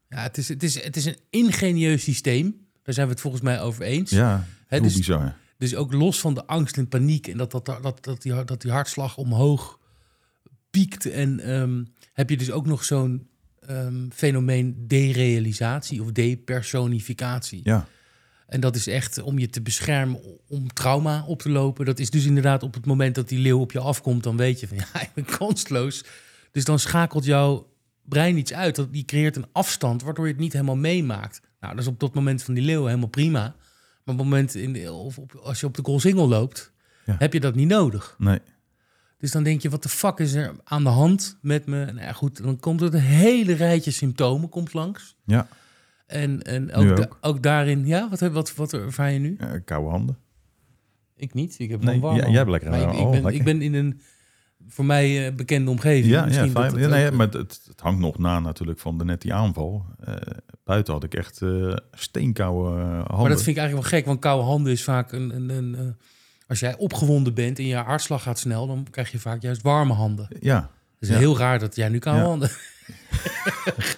A: Ja, het, is, het, is, het is een ingenieus systeem. Daar zijn we het volgens mij over eens.
B: Ja,
A: Hè,
B: hoe
A: dus-
B: bizar.
A: Dus ook los van de angst en paniek en dat, dat, dat, dat, die, dat die hartslag omhoog piekt. En ehm, heb je dus ook nog zo'n ehm, fenomeen derealisatie of depersonificatie.
B: Ja,
A: En dat is echt om je te beschermen om trauma op te lopen. Dat is dus inderdaad op het moment dat die leeuw op je afkomt, dan weet je van *laughs* ja, ik ben kansloos. Dus dan schakelt jouw brein iets uit. Dat- Die creëert een afstand waardoor je het niet helemaal meemaakt. Nou, dat is op dat moment van die leeuw helemaal prima. Maar op het moment in de- of op, als je op de Golsingel loopt,
B: Ja.
A: heb je dat niet nodig.
B: nee.
A: Dus dan denk je, wat de fuck is er aan de hand met me? Nou ja, goed, dan komt er een hele rijtje symptomen komt langs.
B: Ja,
A: En, en
B: Nu
A: ook, da-
B: ook.
A: ook daarin, ja, wat, heb- wat, wat ervaar je nu?
B: eh, koude handen.
A: Ik niet. Ik heb
B: Nee,
A: een warm.
B: jij-
A: al.
B: jij hebt lekker
A: Maar
B: een
A: ik,
B: warm.
A: ik,
B: Oh,
A: ben,
B: lekker.
A: ik ben in een voor mij eh, bekende omgeving.
B: Ja, ja,
A: Misschien dat
B: fijn.
A: het
B: Ja, nee,
A: ook-
B: maar het, het hangt nog na natuurlijk van de net die aanval. Eh, buiten had ik echt eh steenkoude eh, handen.
A: maar dat vind ik eigenlijk wel gek, want koude handen is vaak een. een, een eh, als jij opgewonden bent en je hartslag gaat snel, dan krijg je vaak juist warme handen. Het *laughs*
B: Ja.
A: is
B: Ja.
A: heel raar dat jij nu koude
B: Ja. *laughs*
A: handen.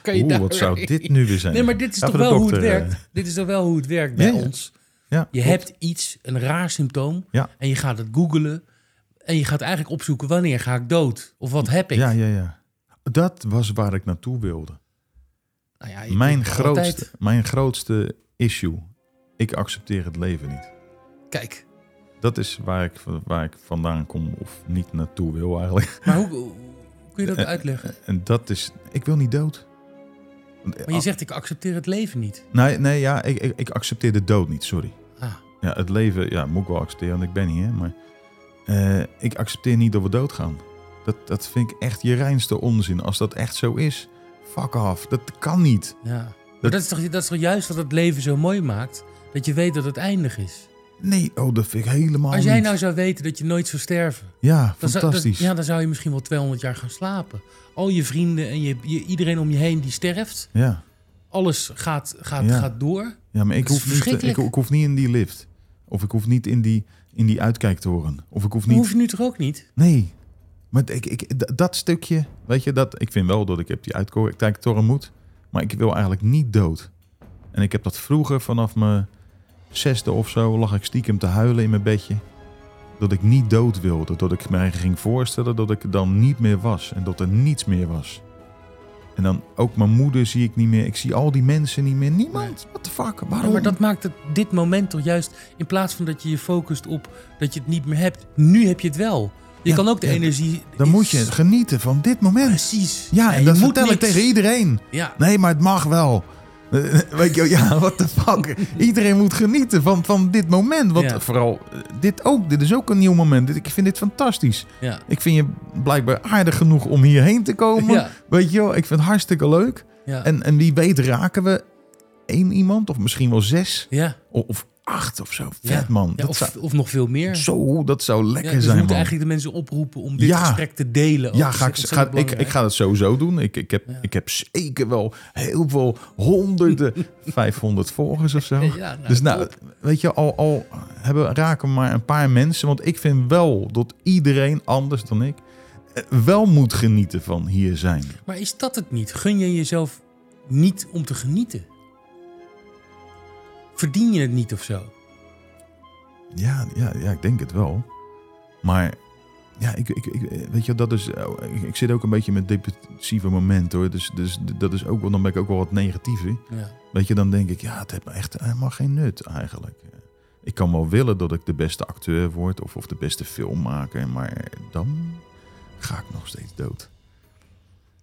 A: kan je
B: Oeh,
A: daar-
B: wat zou dit nu weer zijn?
A: Nee, maar dit is
B: Ga
A: toch
B: voor de
A: wel hoe het
B: dokter, eh.
A: werkt. Dit is toch wel hoe het werkt bij
B: Ja, ja.
A: ons.
B: Ja,
A: Je
B: klopt.
A: hebt iets, een raar symptoom,
B: Ja.
A: en je gaat het googelen. En je gaat eigenlijk opzoeken wanneer ga ik dood? Of wat heb ik?
B: Ja, ja, ja. Dat was waar ik naartoe wilde.
A: Nou ja, je
B: Mijn
A: kunt altijd-
B: grootste, mijn grootste issue. Ik accepteer het leven niet.
A: Kijk,
B: Dat is waar ik, waar ik vandaan kom of niet naartoe wil eigenlijk.
A: maar hoe, hoe kun je dat
B: Eh,
A: uitleggen?
B: En dat is, ik wil niet dood. eh, ah,
A: Maar
B: oh.
A: je zegt, ik accepteer het leven niet.
B: Nee, nee ja, ik, ik, ik accepteer de dood niet, sorry.
A: Ah,
B: Ja, het leven ja, moet ik wel accepteren, want ik ben hier. Maar eh, ik accepteer niet dat we doodgaan. Dat, dat vind ik echt je reinste onzin. Als dat echt zo is, fuck off. Dat kan niet.
A: ja. Maar dat is, toch, dat is toch juist wat het leven zo mooi maakt? Dat je weet dat het eindig is.
B: Nee, oh, dat vind ik helemaal
A: Als jij
B: niet.
A: nou zou weten dat je nooit zou sterven.
B: Ja,
A: Dan zou-
B: fantastisch.
A: dan- ja, dan zou je misschien wel 200 jaar gaan slapen. Al je vrienden en je, je- iedereen om je heen die sterft.
B: ja.
A: Alles gaat, gaat,
B: Ja.
A: gaat door.
B: ja, maar ik
A: Dat is
B: hoef, niet, te- ik,
A: verschrikkelijk.
B: ik hoef niet in die lift. Of ik hoef niet in die, in die uitkijktoren. Of ik hoef
A: Dat
B: niet...
A: hoef je nu toch ook niet?
B: Nee. Maar ik, ik, d- dat stukje, weet je, dat, ik vind wel dat ik heb die uitkijktoren moet. Maar ik wil eigenlijk niet dood. En ik heb dat vroeger vanaf mijn zesde of zo, lag ik stiekem te huilen in mijn bedje. Dat ik niet dood wilde. Dat ik mij ging voorstellen dat ik er dan niet meer was. En dat er niets meer was. En dan ook mijn moeder zie ik niet meer. Ik zie al die mensen niet meer. Niemand. What the fuck? Waarom?
A: Ja, maar dat maakt het, dit moment toch juist... In plaats van dat je je focust op dat je het niet meer hebt. Nu heb je het wel. Je
B: Ja,
A: kan ook de
B: ja,
A: energie...
B: Dan moet je genieten van dit moment.
A: Precies.
B: Ja, en
A: je
B: dat
A: moet
B: vertel ik
A: niks.
B: tegen iedereen.
A: Ja.
B: Nee, maar het mag wel. Eh, Weet je, ja, *laughs* what the fuck. Iedereen moet genieten van, van dit moment. Want
A: Ja.
B: vooral eh, dit ook. Dit is ook een nieuw moment. Dit- Ik vind dit fantastisch.
A: Ja.
B: Ik vind je blijkbaar aardig genoeg om hierheen te komen.
A: Ja.
B: Weet je wel, ik vind het hartstikke leuk.
A: Ja.
B: En, en wie weet raken we één iemand of misschien wel zes
A: ja.
B: o- of, acht of zo.
A: ja.
B: Vet man.
A: Ja,
B: dat
A: of,
B: zou,
A: of nog veel meer.
B: zo, dat zou
A: Ja,
B: lekker
A: dus we
B: zijn
A: moeten
B: man.
A: eigenlijk de mensen oproepen om dit
B: Ja.
A: gesprek te delen. ook.
B: Ja,
A: Dat is
B: ga ik,
A: ontzettend
B: ga, ik, ik
A: belangrijk.
B: ga dat sowieso doen. Ik, ik, heb,
A: Ja.
B: ik heb zeker wel heel veel
A: *laughs*
B: honderden, 500 volgers of zo.
A: Ja, nou,
B: dus nou,
A: top.
B: weet je, al, al hebben, raken maar een paar mensen. Want ik vind wel dat iedereen anders dan ik eh, wel moet genieten van hier zijn.
A: Maar is dat het niet? Gun je jezelf niet om te genieten? Verdien je het niet of zo?
B: Ja, ja, ja ik denk het wel. Maar ja, ik, ik, ik- weet je, dat is. oh, Ik, ik zit ook een beetje met depressieve momenten hoor. Dus, dus dat is ook wel, dan ben ik ook wel wat negatiever.
A: Ja.
B: Weet je, dan denk ik, ja, het heeft me echt helemaal geen nut eigenlijk. Ik kan wel willen dat ik de beste acteur word of, of de beste filmmaker, maar dan ga ik nog steeds dood.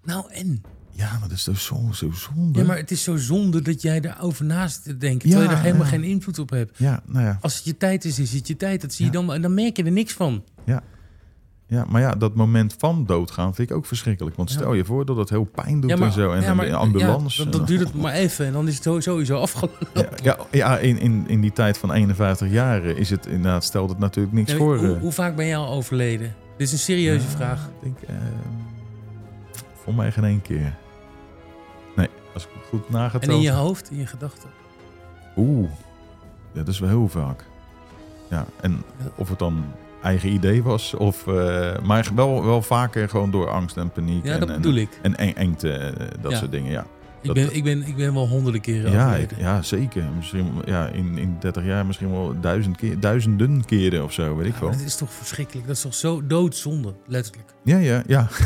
A: Nou en?
B: Ja, maar dat is toch zo, zo zonde.
A: Ja, maar het is zo zonde dat jij daarover naast te denken.
B: Ja,
A: terwijl je daar helemaal
B: ja.
A: geen invloed op hebt.
B: Ja, nou ja,
A: Als het je tijd is, is het je tijd. Dat zie je
B: Ja.
A: dan wel. En dan merk je er niks van.
B: ja, maar ja, dat moment van doodgaan vind ik ook verschrikkelijk. Want stel je voor dat het heel pijn doet
A: ja, maar,
B: en zo. En
A: ja,
B: dan
A: maar-
B: een ambulance.
A: ja, dan, dan duurt het maar even. En dan is het zo- sowieso afgelopen.
B: Ja, ja, ja, in, in, in die tijd van 51 jaar is het inderdaad, stelt het natuurlijk niks
A: Ja,
B: voor.
A: hoe,
B: eh.
A: hoe vaak ben jij al overleden? Dit is een serieuze vraag.
B: Ik denk, eh, voor mij geen één keer. Nee, als ik het goed
A: En in
B: nageteld
A: je
B: heb.
A: hoofd, in je gedachten.
B: Oeh, ja, dat is wel heel vaak. Ja, en
A: Ja.
B: of het dan eigen idee was, of, eh, maar wel, wel vaker gewoon door angst en paniek.
A: Ja,
B: en,
A: dat
B: en,
A: bedoel ik.
B: En eng- engte, eh, dat
A: Ja.
B: soort dingen, ja.
A: Ik ben, ik, ben, ik ben wel honderden keren
B: Ja,
A: overleden.
B: ik- ja, zeker. Misschien, ja, in, in 30 jaar misschien wel duizend keer, duizenden keren of zo, weet ik
A: Ja,
B: wel.
A: maar dat is toch verschrikkelijk? Dat is toch zo doodzonde, letterlijk? *laughs*
B: Ja, ja, ja. *laughs*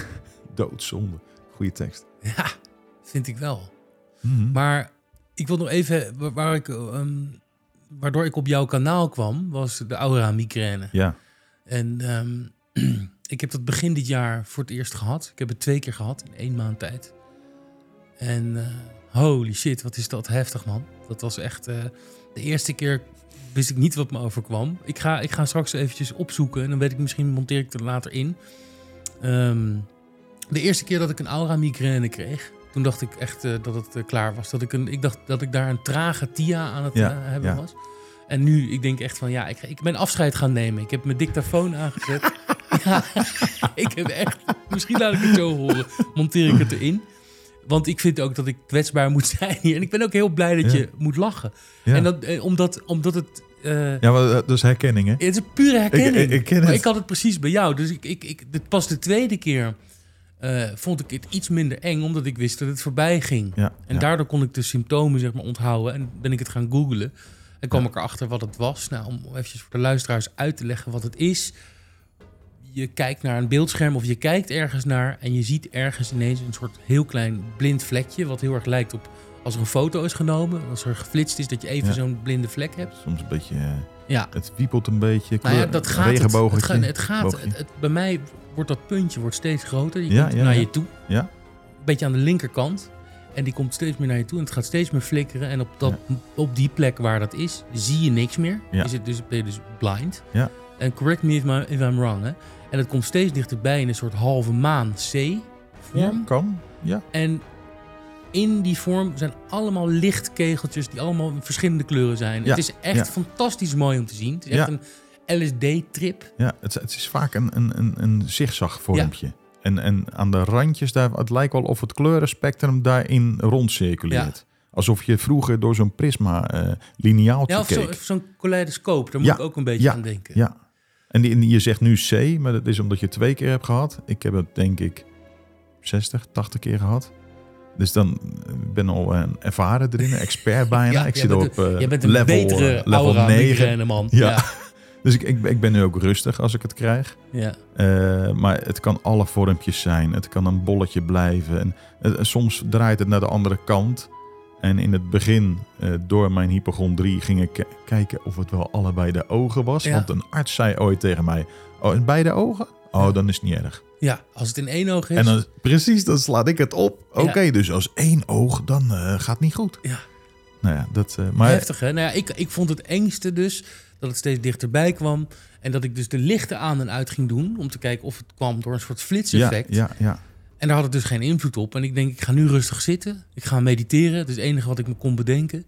B: Doodzonde. Goeie tekst.
A: Ja, vind ik wel.
B: Mhm.
A: Maar ik wil nog even... wa- Waar ik, ehm, waardoor ik op jouw kanaal kwam, was de aura-migraine.
B: Ja,
A: En ehm, *clears throat* ik heb dat begin dit jaar voor het eerst gehad. Ik heb het twee keer gehad, in één maand tijd. En eh, holy shit, wat is dat heftig, man. Dat was echt... eh, de eerste keer wist ik niet wat me overkwam. Ik ga, ik ga straks eventjes opzoeken en dan weet ik misschien monteer ik het er later in. Ehm, de eerste keer dat ik een aura migraine kreeg, toen dacht ik echt eh, dat het eh, klaar was. Dat ik, een, ik dacht dat ik daar een trage tia aan het
B: Ja,
A: eh, hebben
B: ja.
A: was. En nu, ik denk echt van ja, ik, ik ben afscheid gaan nemen. Ik heb mijn dictafoon
B: *laughs*
A: aangezet. ja, *laughs* ik heb echt, misschien laat ik het zo horen.
B: *laughs*
A: Monteer ik het erin. Want ik vind ook dat ik kwetsbaar moet zijn hier. En ik ben ook heel blij dat
B: Ja.
A: je moet lachen.
B: ja.
A: En dat, eh, omdat, omdat het. eh,
B: ja maar, eh, dus herkenning, hè?
A: Het is een pure herkenning.
B: Ik- ik- ik ken
A: maar
B: het.
A: ik had het precies bij jou. Dus ik, ik, ik, dit pas de tweede keer eh, vond ik het iets minder eng, omdat ik wist dat het voorbij ging.
B: Ja,
A: En
B: ja.
A: daardoor kon ik de symptomen zeg maar, onthouden en ben ik het gaan googlen. En kwam ik erachter wat het was. Nou, om eventjes voor de luisteraars uit te leggen wat het is. Je kijkt naar een beeldscherm of je kijkt ergens naar en je ziet ergens ineens een soort heel klein blind vlekje, wat heel erg lijkt op Als er een foto is genomen, als er geflitst is, dat je even
B: Ja.
A: zo'n blinde vlek hebt.
B: Soms een beetje, eh,
A: Ja,
B: het wiepelt een beetje.
A: nou ja,
B: kleur-
A: dat gaat. Het, het,
B: regenbooggetje.
A: gaat- het gaat
B: boogje.
A: het, het- bij mij wordt dat puntje wordt steeds groter. Je
B: Ja,
A: komt
B: ja,
A: naar
B: ja.
A: je toe.
B: Ja.
A: Een beetje aan de linkerkant. En die komt steeds meer naar je toe. En het gaat steeds meer flikkeren. En op, dat, op die plek waar dat is, zie je niks meer.
B: Ja.
A: Is het dus, ben je dus blind.
B: Ja.
A: En correct me if, my- if I'm wrong. Hè. En het komt steeds dichterbij in een soort halve maan
B: Ja,
A: C-vorm.
B: kan. Ja.
A: En in die vorm zijn allemaal lichtkegeltjes die allemaal in verschillende kleuren zijn.
B: Ja,
A: Het is echt
B: ja.
A: fantastisch mooi om te zien. Het is echt
B: Ja.
A: een LSD-trip.
B: Ja, het, het is vaak een, een, een, een zigzagvormpje. En, en aan de randjes, daar, het lijkt wel of het kleurenspectrum daarin rondcirculeert. Alsof je vroeger door zo'n prisma eh lineaaltje
A: Ja, of zo-
B: keek.
A: of zo'n kaleidoscoop. Daar
B: Ja,
A: moet ik ook een beetje
B: ja,
A: aan denken.
B: Ja. En die, en je zegt nu C, maar dat is omdat je het twee keer hebt gehad. Ik heb het denk ik 60, 80 keer gehad. Dus dan eh, ik ben al een ervaren erin, een
A: *laughs*
B: expert bijna.
A: Ja,
B: ik
A: jij
B: zit al
A: bent
B: op eh,
A: Jij bent een
B: level,
A: betere
B: eh, level
A: aura
B: 9.
A: migraine man.
B: Ja.
A: Ja.
B: *laughs* Dus ik, ik, ben- ik ben nu ook rustig als ik het krijg.
A: ja.
B: Eh, maar het kan alle vormpjes zijn. Het kan een bolletje blijven. En, eh, soms draait het naar de andere kant. En in het begin, eh, door mijn hypochondrie, ging ik k- kijken of het wel allebei de ogen was.
A: Ja.
B: Want een arts zei ooit tegen mij: Oh, en beide ogen? Oh,
A: Ja.
B: dan is het niet erg.
A: Ja, als het in één oog is.
B: En dan, precies, dan slaat ik het op.
A: Ja.
B: Oké, dus als één oog, dan eh, gaat het niet goed.
A: Ja.
B: Nou ja, dat. eh, maar
A: Heftig, hè? Nou ja, ik, ik vond het engste dus dat het steeds dichterbij kwam. En dat ik dus de lichten aan en uit ging doen. Om te kijken of het kwam door een soort
B: ja,
A: flitseffect.
B: ja, ja.
A: En daar had het dus geen invloed op. En ik denk, ik ga nu rustig zitten. Ik ga mediteren. Het is het enige wat ik me kon bedenken.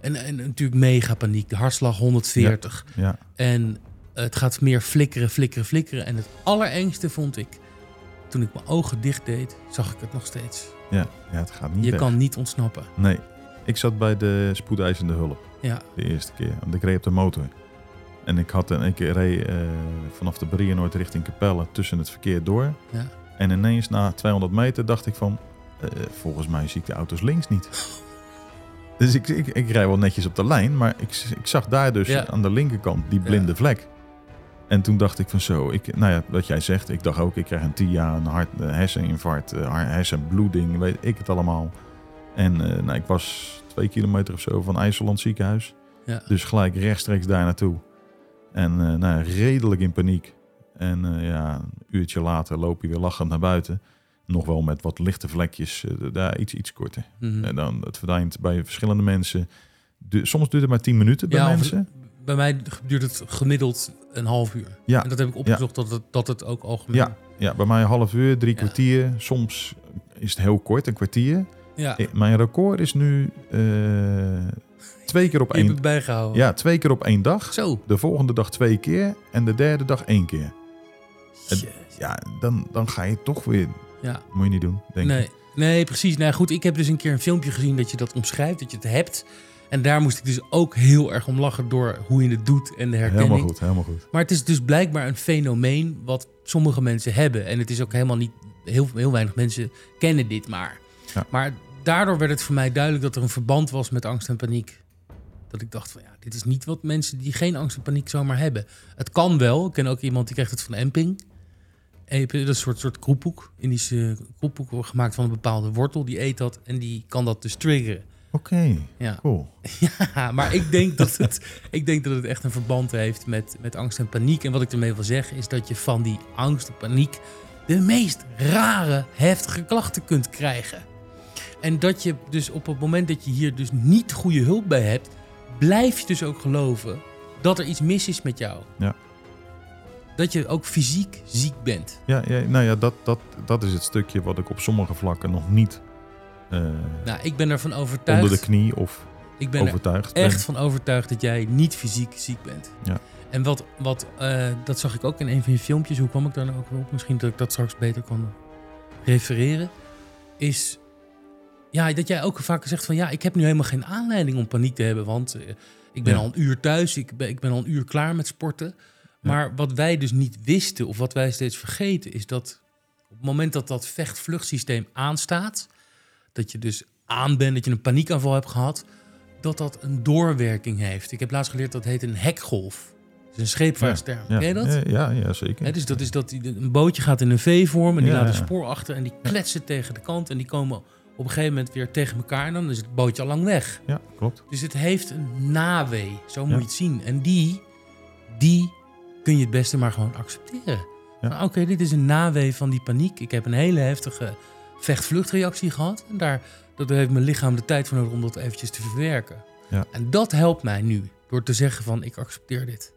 A: En, en natuurlijk mega paniek. De hartslag 140.
B: ja.
A: En eh, het gaat meer flikkeren, flikkeren, flikkeren. En het allerengste vond ik... Toen ik mijn ogen dicht deed, zag ik het nog steeds.
B: Ja, ja, het gaat niet.
A: Je
B: weg.
A: kan niet ontsnappen.
B: Nee, ik zat bij de spoedeisende hulp.
A: Ja,
B: De eerste keer. Want ik reed op de motor. En ik, had een, ik reed eh, vanaf de Brienoord richting Capelle tussen het verkeer door.
A: Ja.
B: En ineens na 200 meter dacht ik van... eh, volgens mij zie ik de auto's links niet.
A: *laughs*
B: Dus ik, ik, ik rijd wel netjes op de lijn. Maar ik, ik zag daar dus
A: Ja.
B: aan de linkerkant die blinde vlek. En toen dacht ik van zo, ik, nou ja, wat jij zegt, ik dacht ook, ik krijg een TIA, een hart, een herseninfarct, eh, har- hersenbloeding, weet ik het allemaal. En eh, nou, ik was twee kilometer of zo van IJsseland ziekenhuis.
A: Ja.
B: Dus gelijk rechtstreeks daar naartoe. En eh, nou, ja, redelijk in paniek. En eh, ja, een uurtje later loop je weer lachend naar buiten. Nog wel met wat lichte vlekjes, eh, daar iets, iets korter.
A: mhm.
B: En dan, het verdwijnt bij verschillende mensen. Du- soms duurt het maar 10 minuten bij
A: Ja, of-
B: mensen.
A: bij mij duurt het gemiddeld een half uur.
B: Ja.
A: En dat heb ik opgezocht dat, het, dat het ook algemeen...
B: Ja, ja, bij mij een half uur, drie
A: Ja.
B: kwartier. Soms is het heel kort, een kwartier.
A: ja.
B: Eh, Mijn record is nu eh, twee keer op
A: Je hebt
B: één.
A: het bijgehouden.
B: Ja, twee keer op één dag.
A: Zo.
B: De volgende dag twee keer en de derde dag één keer. Het-
A: Jezus.
B: Ja, dan, dan ga je toch weer.
A: Ja.
B: Moet je niet doen, denk ik.
A: Nee, nee, precies. Nou ja, goed, ik heb dus een keer een filmpje gezien dat je dat omschrijft, dat je het hebt. En daar moest ik dus ook heel erg om lachen door hoe je het doet en de herkenning.
B: Helemaal goed, helemaal goed.
A: Maar het is dus blijkbaar een fenomeen wat sommige mensen hebben. En het is ook helemaal niet... Heel, heel weinig mensen kennen dit maar.
B: Ja.
A: Maar daardoor werd het voor mij duidelijk dat er een verband was met angst en paniek. Dat ik dacht van ja, dit is niet wat mensen die geen angst en paniek zomaar hebben. Het kan wel. Ik ken ook iemand die krijgt het van Emping. Epe, dat is een soort, soort kroephoek. Indische kroephoek wordt gemaakt van een bepaalde wortel. Die eet dat en die kan dat dus triggeren.
B: Oké,
A: Ja.
B: cool.
A: *laughs* Ja, maar ik denk, dat het, ik denk dat het echt een verband heeft met, met angst en paniek. En wat ik ermee wil zeggen is dat je van die angst en paniek de meest rare, heftige klachten kunt krijgen. En dat je dus op het moment dat je hier dus niet goede hulp bij hebt, blijf je dus ook geloven dat er iets mis is met jou.
B: Ja.
A: Dat je ook fysiek ziek bent.
B: Ja, ja, nou ja, dat, dat, dat is het stukje wat ik op sommige vlakken nog niet eh,
A: Nou, ik ben ervan overtuigd.
B: onder de knie of
A: ik ben er
B: overtuigd ben.
A: echt van overtuigd dat jij niet fysiek ziek bent.
B: Ja.
A: En wat, wat eh, dat zag ik ook in een van je filmpjes. Hoe kwam ik daar nou ook weer op? Misschien dat ik dat straks beter kan refereren. Is ja, dat jij ook vaak zegt van ja, ik heb nu helemaal geen aanleiding om paniek te hebben. Want eh, ik ben
B: Ja.
A: al een uur thuis, ik ben, ik ben al een uur klaar met sporten. Maar wat wij dus niet wisten of wat wij steeds vergeten is dat op het moment dat dat vechtvluchtsysteem aanstaat, dat je dus aan bent, dat je een paniekaanval hebt gehad, dat dat een doorwerking heeft. Ik heb laatst geleerd dat heet een hekgolf. Dat is een scheepvaartsterm.
B: Ja,
A: Ken je dat?
B: Ja, ja, ja, zeker.
A: Hè, dus dat is dat die- een bootje gaat in een V-vorm en die
B: Ja,
A: laat een
B: ja.
A: spoor achter en die kletsen tegen de kant en die komen op een gegeven moment weer tegen elkaar en dan is het bootje al lang weg.
B: Ja, klopt.
A: Dus het heeft een nawee, zo moet
B: Ja.
A: je het zien. En die, die kun je het beste maar gewoon accepteren.
B: Ja.
A: Van, Oké, dit is een nawee van die paniek. Ik heb een hele heftige vechtvluchtreactie gehad. En daar dat heeft mijn lichaam de tijd voor nodig om dat eventjes te verwerken.
B: Ja.
A: En dat helpt mij nu, door te zeggen van ik accepteer dit.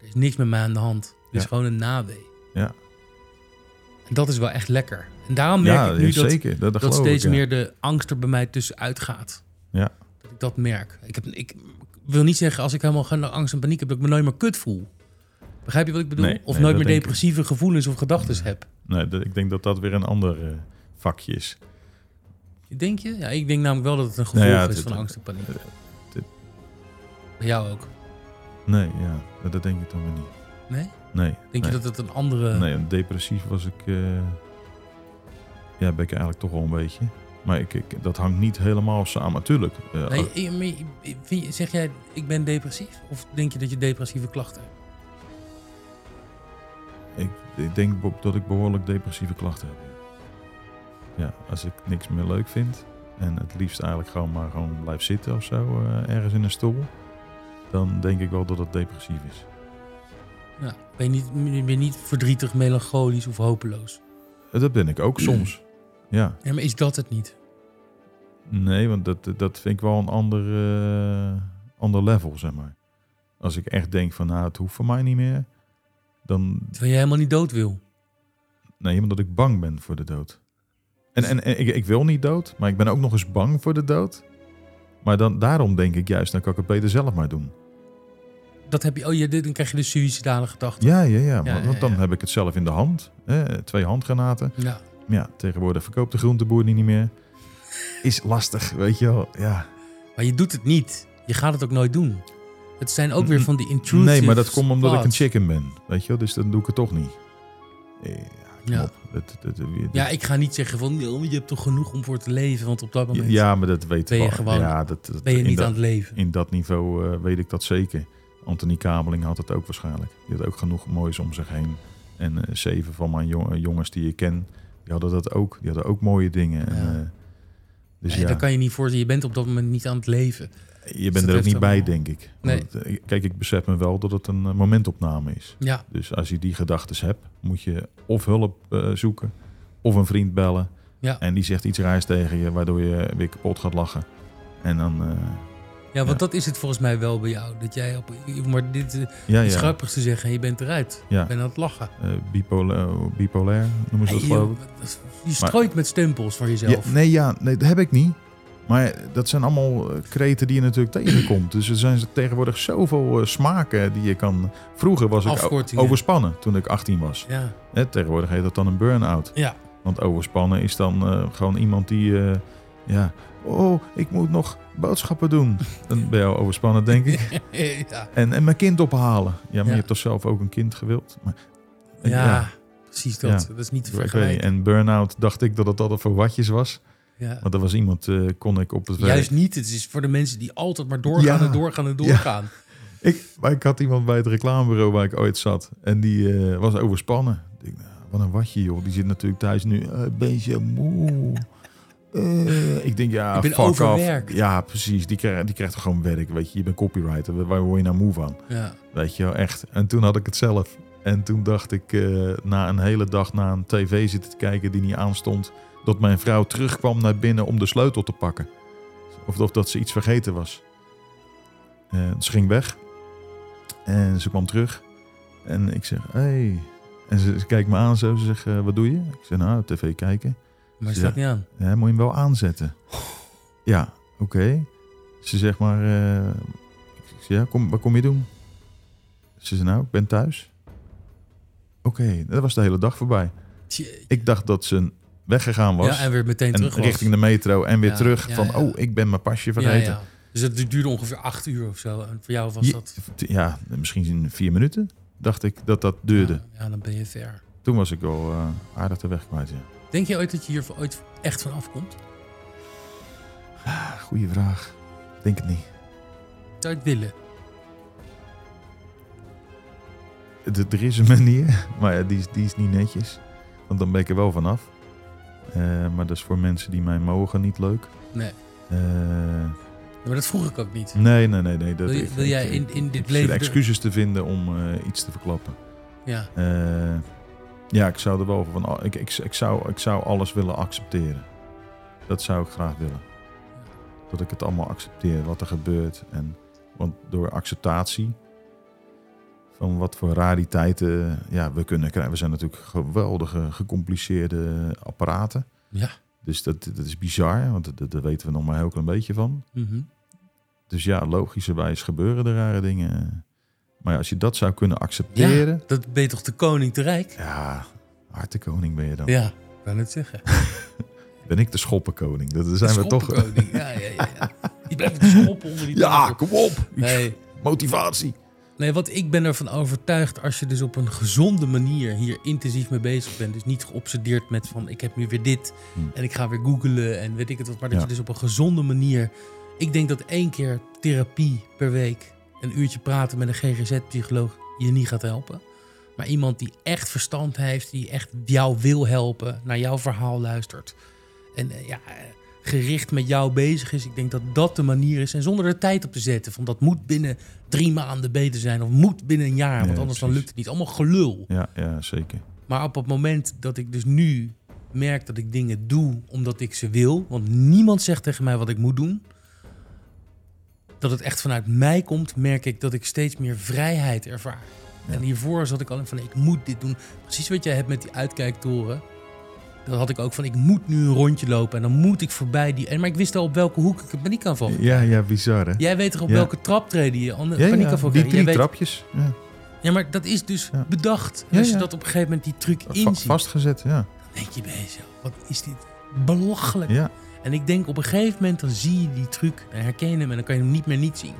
A: Er is niks met mij aan de hand. Het is
B: Ja.
A: gewoon een nawee.
B: Ja.
A: En dat is wel echt lekker. En daarom merk
B: Ja,
A: ik nu
B: ja,
A: dat,
B: zeker. Dat, dat,
A: dat
B: geloof
A: steeds
B: ik, ja.
A: meer de angst er bij mij tussenuit gaat.
B: Ja.
A: Dat ik dat merk. Ik, heb, ik wil niet zeggen als ik helemaal geen angst en paniek heb, dat ik me nooit meer kut voel. Begrijp je wat ik bedoel?
B: Nee,
A: of nooit
B: nee, dat
A: meer
B: denk ik.
A: depressieve gevoelens of gedachten heb.
B: Nee, dat- ik denk dat dat weer een ander eh, vakje is.
A: Denk je? Ja, ik denk namelijk wel dat het een gevolg
B: Nou ja, het-
A: is van
B: het-
A: angst en paniek.
B: het-
A: Bij jou ook.
B: Nee, ja, dat- dat denk ik dan weer niet.
A: Nee?
B: Nee.
A: Denk
B: nee.
A: je dat het een andere...
B: Nee, en depressief was ik. eh, ja, ben ik eigenlijk toch wel een beetje. Maar ik, ik- dat hangt niet helemaal samen, tuurlijk. eh,
A: Nee,
B: als-
A: eh, maar je- eh, vind je- zeg jij, ik ben depressief? Of denk je dat je depressieve klachten hebt?
B: ik, ik denk be- dat ik behoorlijk depressieve klachten heb. Ja, als ik niks meer leuk vind en het liefst eigenlijk gewoon maar gewoon blijf zitten of zo, eh, ergens in een stoel, dan denk ik wel dat het depressief is.
A: Ja, ben, je niet, ben je niet verdrietig, melancholisch of hopeloos?
B: Eh, Dat ben ik ook soms. Ja,
A: Ja, maar is dat het niet?
B: nee, want dat, dat vind ik wel een ander, eh, ander level, zeg maar. Als ik echt denk van, nou, het hoeft voor mij niet meer, dan,
A: Terwijl je helemaal niet dood wil.
B: Nee, omdat ik bang ben voor de dood. En, en, en ik, ik wil niet dood, maar ik ben ook nog eens bang voor de dood. Maar dan, daarom denk ik juist, dan kan ik het beter zelf maar doen.
A: Dat heb je, oh, je, dit- dan krijg je de suïcidale gedachten.
B: Ja, ja, ja.
A: Ja,
B: want- want
A: ja,
B: dan
A: ja.
B: heb ik het zelf in de hand. Hè, twee handgranaten.
A: Ja.
B: Maar Ja, tegenwoordig verkoopt de groenteboer die niet meer. Is lastig, weet je wel. Ja.
A: Maar je doet het niet. Je gaat het ook nooit doen. Het zijn ook weer van die intrusive
B: Nee, maar dat komt omdat ik een
A: thoughts.
B: chicken ben. Weet je wel, dus dan doe ik het toch niet. Eh, Ja,
A: Ja.
B: kom op. Dat, dat, dat-
A: Ja, ik ga niet zeggen van, "Joh, je hebt toch genoeg om voor te leven. Want op dat moment
B: ja, maar dat weet
A: Ben je
B: wel-
A: gewoon-
B: ja, dat, dat,
A: ben je
B: in
A: niet
B: dat-
A: aan het leven.
B: In dat niveau eh, weet ik dat zeker. Anthony Kabeling had het ook waarschijnlijk. Die had ook genoeg moois om zich heen. En eh, zeven van mijn jong- jongens die ik ken, die hadden dat ook. Die hadden ook mooie dingen. En,
A: Ja.
B: eh, dus
A: Nee,
B: ja,
A: Dat kan je niet voorzien. Je bent op dat moment niet aan het leven.
B: je
A: dat
B: bent er ook
A: heeft
B: niet bij,
A: allemaal-
B: denk ik.
A: Nee.
B: Want, eh, kijk, ik besef me wel dat het een eh, momentopname is.
A: Ja,
B: Dus als je die gedachten hebt, moet je of hulp eh, zoeken, of een vriend bellen.
A: Ja.
B: En die zegt iets raars tegen je, waardoor je weer kapot gaat lachen. En dan... eh,
A: ja want
B: Ja.
A: dat is het volgens mij wel bij jou. Dat jij op, maar dit eh,
B: ja,
A: iets
B: ja.
A: grappigs te zeggen, je bent eruit.
B: Ja.
A: Je bent aan het lachen.
B: eh, bipolair, bipolair noemen ze dat
A: Hey,
B: geloof ik.
A: joh, dat is- je strooit met stempels voor jezelf.
B: Ja, nee, ja, nee, dat heb ik niet. Maar dat zijn allemaal eh, kreten die je natuurlijk *clears throat* tegenkomt. Dus er zijn tegenwoordig zoveel eh, smaken die je kan... Vroeger was ik o-
A: Afkortingen.
B: overspannen toen ik 18 was.
A: Ja. *laughs*
B: Hè, tegenwoordig heet dat dan een burn-out.
A: Ja.
B: Want overspannen is dan eh, gewoon iemand die... eh, ja, oh, ik moet nog boodschappen
A: *laughs*
B: doen. Dan ben je al overspannen, denk ik.
A: ja.
B: En, en mijn kind ophalen. Ja, maar
A: Ja.
B: je hebt toch zelf ook een kind gewild? Maar,
A: Ja, precies dat.
B: Ja.
A: Dat is niet te
B: ik weet niet.
A: vergelijken.
B: En burn-out dacht ik dat het altijd voor watjes was.
A: Ja.
B: Want er was iemand, eh, kon ik op het werk.
A: Juist niet. Het is voor de mensen die altijd maar doorgaan
B: Ja.
A: en doorgaan en doorgaan.
B: Ik, maar ik had iemand bij het reclamebureau waar ik ooit zat. En die eh, was overspannen. Ik denk, nou, wat een watje joh. Die zit natuurlijk thuis nu. eh, een beetje moe. Eh, ik denk, ja,
A: Ik ben
B: fuck off.
A: overwerkt.
B: Ja, precies. Die krijgt, die krijgt toch gewoon werk, weet je. Je bent copywriter. Waar- Waar word je nou moe van?
A: Ja.
B: Weet je wel, echt. En toen had ik het zelf. En toen dacht ik, eh, na een hele dag naar een tv zitten te kijken die niet aanstond, dat mijn vrouw terugkwam naar binnen om de sleutel te pakken. Of, of dat ze iets vergeten was. Eh, ze ging weg. En ze kwam terug. En ik zeg, hé. Hey. En ze, ze kijkt me aan zo. Ze zegt, eh, wat doe je? Ik zeg, nou, tv kijken.
A: Maar het
B: Ja.
A: staat niet aan.
B: Ja, moet je hem wel aanzetten? Ja, oké. Ze zegt maar... eh, ik zeg, ja, kom, wat kom je doen? Ze zei, nou, ik ben thuis. Oké, dat was de hele dag voorbij.
A: Tje-
B: Ik dacht dat ze weggegaan was.
A: ja, en
B: en
A: weer meteen terug was.
B: richting de metro en weer
A: Ja,
B: terug.
A: ja,
B: van,
A: ja.
B: oh, ik ben mijn pasje
A: ja,
B: vergeten.
A: ja. Dus dat duurde ongeveer acht uur of zo. En voor jou was
B: Je-
A: dat...
B: T- Ja, misschien in vier minuten dacht ik dat dat duurde.
A: Ja, ja, dan ben je ver.
B: Toen was ik al eh, aardig de weg kwijt, ja.
A: Denk je ooit dat je hier voor- ooit echt van afkomt?
B: Goeie vraag. Denk het niet.
A: Zou je het willen?
B: *laughs* D- er is een manier, maar ja, die, is, die is niet netjes. Want dan ben ik er wel vanaf. Eh, maar dat is voor mensen die mij mogen niet leuk.
A: Nee.
B: Eh,
A: Ja, maar dat vroeg ik ook niet.
B: nee, nee, nee. nee dat,
A: Wil, je-
B: ik-
A: wil jij
B: ik-
A: in, in
B: ik
A: dit
B: zit
A: leven...
B: excuses te vinden om eh, iets te verklappen.
A: Ja,
B: Eh, ja, ik zou er wel van. Ik, ik, ik, zou, ik zou alles willen accepteren. Dat zou ik graag willen. Dat ik het allemaal accepteer, wat er gebeurt. En, want door acceptatie van wat voor rariteiten ja, we kunnen krijgen. We zijn natuurlijk geweldige, gecompliceerde apparaten.
A: Ja.
B: Dus dat, dat is bizar, want dat- daar weten we nog maar heel klein beetje van.
A: mhm.
B: Dus ja, logischerwijs gebeuren er rare dingen. Maar ja, als je dat zou kunnen accepteren,
A: dat ben je toch de koning te rijk?
B: ja, hartekoning ben je dan.
A: Ja, ik kan het zeggen.
B: Ben ik de schoppenkoning? Dat zijn we toch.
A: Schoppenkoning, Ja, ja, ja. ja. Je blijft
B: *laughs*
A: schoppen onder die
B: Ja,
A: tafel.
B: kom op!
A: Nee,
B: Motivatie.
A: nee, want ik ben ervan overtuigd als je dus op een gezonde manier hier intensief mee bezig bent. Dus niet geobsedeerd met van ik heb nu weer dit
B: Hm.
A: en ik ga weer googlen en weet ik het wat. Maar dat
B: Ja.
A: je dus op een gezonde manier. Ik denk dat één keer therapie per week, een uurtje praten met een GGZ-psycholoog je niet gaat helpen. Maar iemand die echt verstand heeft, die echt jou wil helpen, naar jouw verhaal luistert. En eh, ja, eh, gericht met jou bezig is. Ik denk dat dat de manier is. En zonder er tijd op te zetten. Van dat moet binnen drie maanden beter zijn. Of moet binnen een jaar.
B: Ja,
A: want anders dan
B: precies.
A: lukt het niet. Allemaal gelul.
B: Ja, ja zeker.
A: Maar op het moment dat ik dus nu merk dat ik dingen doe omdat ik ze wil. Want niemand zegt tegen mij wat ik moet doen. Dat het echt vanuit mij komt, merk ik dat ik steeds meer vrijheid ervaar.
B: Ja.
A: En hiervoor zat ik al in van ik moet dit doen. Precies wat jij hebt met die uitkijktoren. Dat had ik ook van ik moet nu een rondje lopen en dan moet ik voorbij die. En maar ik wist al op welke hoek ik een paniekaanval. had.
B: Ja, ja, bizar hè?
A: Jij weet toch op
B: Ja.
A: welke traptreden je een
B: Ja, ja,
A: paniekaanval
B: die
A: krijgt. Jij
B: drie
A: weet-
B: trapjes. Ja.
A: Ja, maar dat is dus
B: Ja.
A: bedacht.
B: Ja,
A: als je
B: ja.
A: dat op een gegeven moment die truc
B: Va-
A: inziet.
B: vastgezet, ja.
A: denk je bij jezelf, wat is dit belachelijk.
B: ja.
A: En ik denk op een gegeven moment dan zie je die truc en herken je hem en dan kan je hem niet meer niet zien.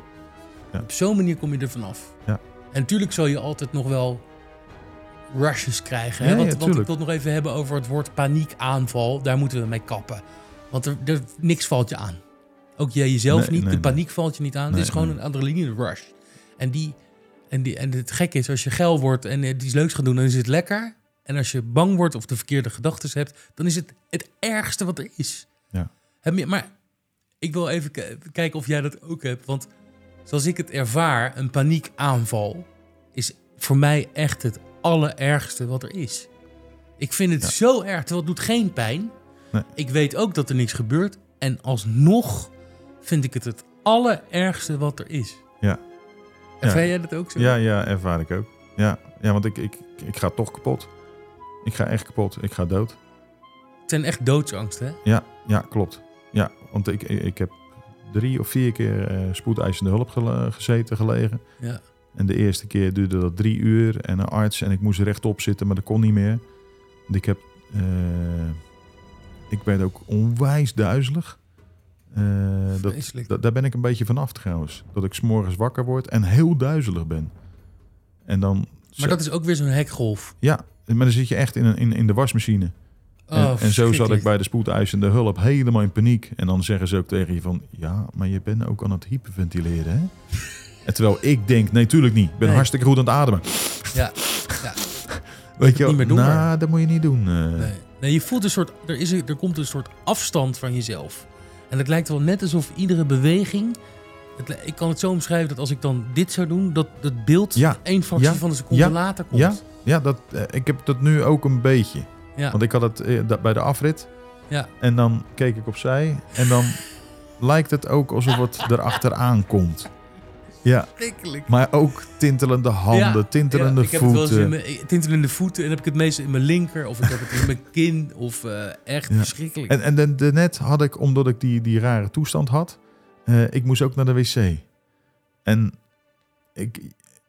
B: Ja.
A: Op zo'n manier kom je er vanaf.
B: Ja.
A: En natuurlijk zal je altijd nog wel rushes krijgen. Hè?
B: Ja, ja,
A: want, want ik
B: tuurlijk.
A: wil het nog even hebben over het woord paniekaanval. Daar moeten we mee kappen. Want er, er, niks valt je aan. Ook jij jezelf
B: Nee,
A: niet,
B: nee,
A: de
B: nee.
A: paniek valt je niet aan.
B: Nee,
A: het is gewoon
B: nee.
A: een adrenaline rush. En, die, en, die, en het gekke is, als je geil wordt en eh, iets leuks gaat doen, dan is het lekker. En als je bang wordt of de verkeerde gedachten hebt, dan is het het ergste wat er is.
B: Ja.
A: Heb je- maar ik wil even k- kijken of jij dat ook hebt. Want zoals ik het ervaar, een paniekaanval is voor mij echt het allerergste wat er is. Ik vind het
B: Ja.
A: zo erg, terwijl het doet geen pijn.
B: Nee.
A: Ik weet ook dat er niks gebeurt. En alsnog vind ik het het allerergste wat er is.
B: Ja.
A: Ervaar jij dat ook zo?
B: Ja, ja, ervaar ik ook. Ja, ja want ik, ik, ik ga toch kapot. Ik ga echt kapot. Ik ga dood.
A: Het zijn echt doodsangst, hè?
B: Ja, ja klopt. Ja, want ik, ik heb drie of vier keer eh, spoedeisende hulp gele- gezeten, gelegen.
A: Ja.
B: En de eerste keer duurde dat drie uur en een arts en ik moest rechtop zitten, maar dat kon niet meer. Want ik heb, eh, ik werd ook onwijs duizelig. Eh, dat,
A: Vreselijk.
B: da- daar ben ik een beetje van af trouwens. Dat ik s'morgens wakker word en heel duizelig ben. En dan,
A: Maar dat is ook weer zo'n hekgolf.
B: ja, maar dan zit je echt in, een, in, in de wasmachine.
A: Oh,
B: En, en zo zat ik
A: verschrikkelijk.
B: bij de spoedeisende hulp helemaal in paniek. En dan zeggen ze ook tegen je van... Ja, maar je bent ook aan het hyperventileren,
A: *laughs*
B: hè? en terwijl ik denk, nee, tuurlijk niet. Ik ben
A: Nee.
B: hartstikke goed aan het ademen.
A: Ja, ja.
B: Weet je wel,
A: niet meer doen,
B: nou,
A: maar.
B: dat moet je niet doen. eh.
A: Nee. nee, je voelt een soort. Er, is een- er komt een soort afstand van jezelf. En het lijkt wel net alsof iedere beweging. Het, li- ik kan het zo omschrijven dat als ik dan dit zou doen, dat het beeld
B: Ja.
A: één fractie
B: Ja.
A: van een seconde
B: Ja.
A: later komt.
B: Ja, ja dat, eh, ik heb dat nu ook een beetje.
A: Ja.
B: Want ik had het eh, dat, bij de afrit.
A: Ja.
B: En dan keek ik opzij. En dan
A: *laughs*
B: lijkt het ook alsof het erachteraan komt. Ja,
A: Schrikkelijk.
B: maar ook tintelende handen,
A: Ja,
B: tintelende
A: ja, ik heb het wel eens
B: voeten.
A: in mijn ik- tintelende voeten en heb ik het meestal in mijn linker of ik heb het in mijn kin of eh, echt
B: Ja.
A: verschrikkelijk.
B: En, en dan- daarnet had ik, omdat ik die, die rare toestand had, eh, ik moest ook naar de wc. En ik,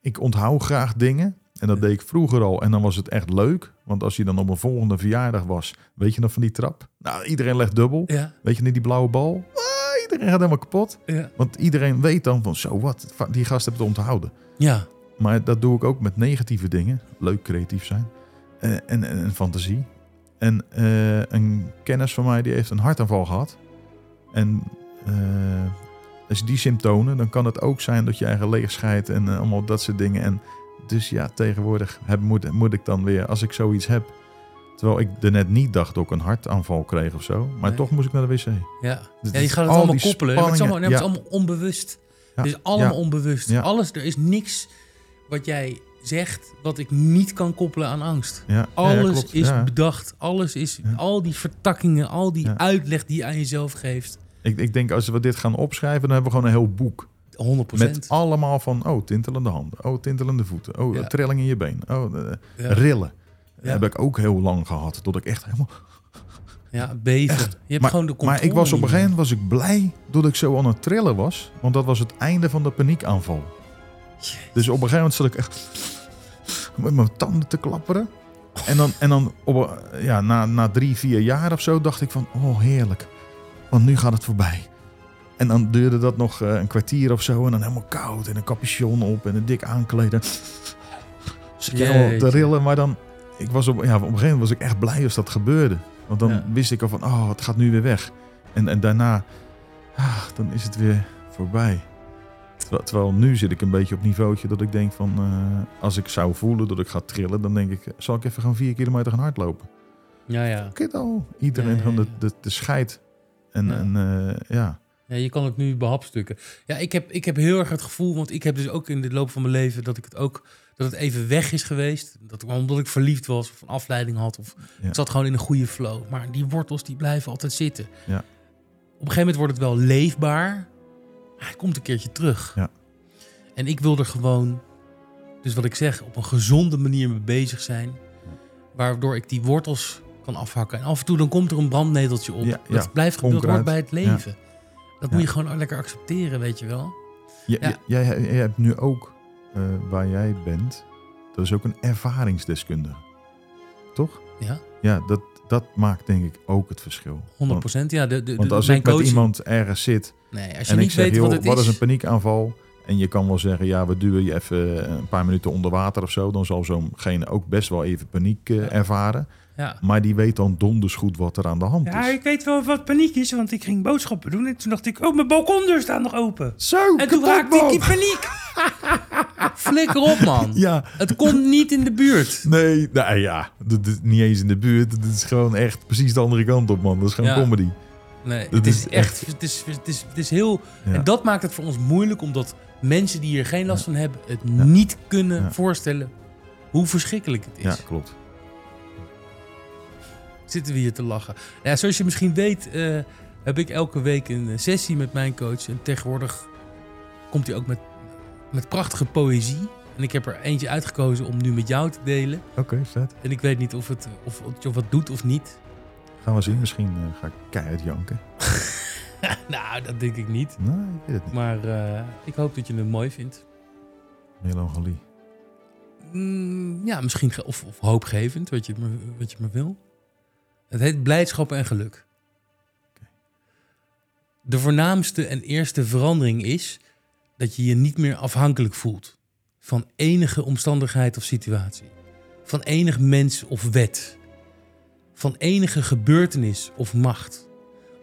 B: ik onthoud graag dingen. En dat
A: Ja.
B: deed ik vroeger al. En dan was het echt leuk. Want als je dan op een volgende verjaardag was, weet je nog van die trap? Nou, iedereen legt dubbel.
A: Ja,
B: Weet je niet die blauwe bal? Ah, iedereen gaat helemaal kapot.
A: ja.
B: Want iedereen weet dan van, zo wat, va- die gast heeft het onthouden.
A: ja.
B: Maar dat doe ik ook met negatieve dingen. Leuk creatief zijn. Eh, en, en, en fantasie. En eh, een kennis van mij die heeft een hartaanval gehad. En eh, als die symptomen, dan kan het ook zijn dat je eigen leeg scheidt en eh, allemaal dat soort dingen. En dus ja, tegenwoordig heb, moet, moet ik dan weer, als ik zoiets heb, Terwijl ik er net niet dacht dat ik een hartaanval kreeg of zo. Maar
A: Nee.
B: toch moest ik naar de wc.
A: Ja.
B: Dus
A: ja, je
B: dat-
A: gaat
B: al
A: het allemaal
B: die
A: koppelen. hè, maar Het is allemaal, nee, maar het
B: spanningen,
A: is allemaal onbewust.
B: Ja,
A: Het is allemaal
B: ja.
A: onbewust.
B: Ja.
A: Alles, er is niks wat jij zegt wat ik niet kan koppelen aan angst.
B: Ja, ja, ja,
A: Alles
B: klopt.
A: is
B: Ja.
A: bedacht. Alles is,
B: Ja.
A: al die vertakkingen, al die
B: Ja.
A: uitleg die je aan jezelf geeft. 100%.
B: Ik, ik denk als we dit gaan opschrijven, dan hebben we gewoon een heel boek. Met allemaal van, oh, tintelende handen. Oh, tintelende voeten. Oh,
A: Ja.
B: trilling in je been. Oh, eh,
A: ja.
B: rillen.
A: Ja.
B: Heb ik ook heel lang gehad. Tot ik echt helemaal...
A: ja, beven. Je hebt gewoon de controle
B: maar ik was op een
A: niet
B: gegeven moment was ik blij dat ik zo aan het trillen was. Want dat was het einde van de paniekaanval. Dus op een gegeven moment zat ik echt met mijn tanden te klapperen. En dan, en dan op, een- ja, na, na drie, vier jaar of zo dacht ik van, oh heerlijk. Want nu gaat het voorbij. En dan duurde dat nog eh, een kwartier of zo. En dan helemaal koud en een capuchon op en een dik aankleden. Dus Zit je helemaal te
A: Jeetje.
B: rillen. Maar dan, ik was op, ja, op een gegeven moment was ik echt blij als dat gebeurde. Want dan
A: Ja.
B: wist ik al van, oh, het gaat nu weer weg. En, en daarna, ah, dan is het weer voorbij. Terwijl, terwijl nu zit ik een beetje op niveautje dat ik denk van... eh, als ik zou voelen dat ik ga trillen, dan denk ik... zal ik even gaan vier kilometer gaan hardlopen?
A: meer. Ja, ja.
B: Kiddo! Iedereen
A: Ja, ja,
B: van de,
A: ja.
B: de, de scheid. En
A: Ja.
B: ja, en, eh, ja.
A: ja, je kan het nu behapstukken. Ja, ik heb, ik heb heel erg het gevoel, want ik heb dus ook in de loop van mijn leven dat ik het ook dat het even weg is geweest. Dat ik, omdat ik verliefd was of een afleiding had. Of
B: Ja.
A: Het zat gewoon in een goede flow. Maar die wortels die blijven altijd zitten.
B: Ja.
A: Op een gegeven moment wordt het wel leefbaar. Maar hij komt een keertje terug.
B: Ja.
A: En ik wil er gewoon, dus wat ik zeg, op een gezonde manier mee bezig zijn. Waardoor ik die wortels kan afhakken. En af en toe dan komt er een brandneteltje op.
B: Ja,
A: dat
B: ja.
A: blijft dat hoort
B: Onkruid.
A: bij het leven. Dat
B: Ja.
A: moet je gewoon lekker accepteren, weet je wel.
B: J-
A: Ja.
B: j- Jij, jij hebt nu ook, eh, waar jij bent... dat is ook een ervaringsdeskundige. Toch?
A: Ja,
B: Ja, dat, dat maakt denk ik ook het verschil.
A: 100%.
B: Want,
A: ja, de, de,
B: want
A: de-
B: als
A: mijn
B: ik met
A: coach-
B: iemand ergens zit...
A: Nee, als je
B: En ik
A: niet
B: zeg,
A: weet
B: joh,
A: wat
B: wat,
A: het
B: is
A: is.
B: een paniekaanval? En je kan wel zeggen, ja, we duwen je even eh, een paar minuten onder water of zo. Dan zal zo'ngene ook best wel even paniek eh,
A: Ja.
B: ervaren.
A: ja.
B: Maar die weet dan donders goed wat er aan de hand
C: Ja,
B: is.
C: ik weet wel wat paniek is, want ik ging boodschappen doen en toen dacht ik, oh, mijn balkondeur staat nog open.
B: Zo,
A: En toen
B: kapot,
A: raakte ik
B: man!
A: in paniek. *laughs* Flikker op, man.
B: Ja,
A: Het komt niet in de buurt.
B: nee, nou ja, dat is niet eens in de buurt. Het is gewoon echt precies de andere kant op, man. Dat is gewoon
A: Ja.
B: comedy.
A: Nee,
B: Dat
A: het is
B: is
A: echt... Het is, het is, het is heel...
B: Ja.
A: En dat maakt het voor ons moeilijk, omdat mensen die hier geen last van hebben... het
B: Ja.
A: niet kunnen
B: Ja.
A: voorstellen hoe verschrikkelijk het is.
B: Ja, klopt.
A: Zitten we hier te lachen. Ja, zoals je misschien weet, eh, heb ik elke week een eh, sessie met mijn coach. En tegenwoordig komt hij ook met, met prachtige poëzie. En ik heb er eentje uitgekozen om nu met jou te delen.
B: Oké, vet.
A: En ik weet niet of het, of, of het wat doet of niet. *laughs*
B: Gaan we zien. Misschien eh, ga ik keihard janken.
A: Nou, dat denk ik niet.
B: Nee, ik weet het niet.
A: Maar eh, ik hoop dat je hem mooi vindt.
B: Melancholie.
A: Mm, ja, misschien ge- of, of hoopgevend, wat je, het maar, wat je maar wil. Het heet blijdschap en geluk. De voornaamste en eerste verandering is dat je je niet meer afhankelijk voelt van enige omstandigheid of situatie, van enig mens of wet, van enige gebeurtenis of macht,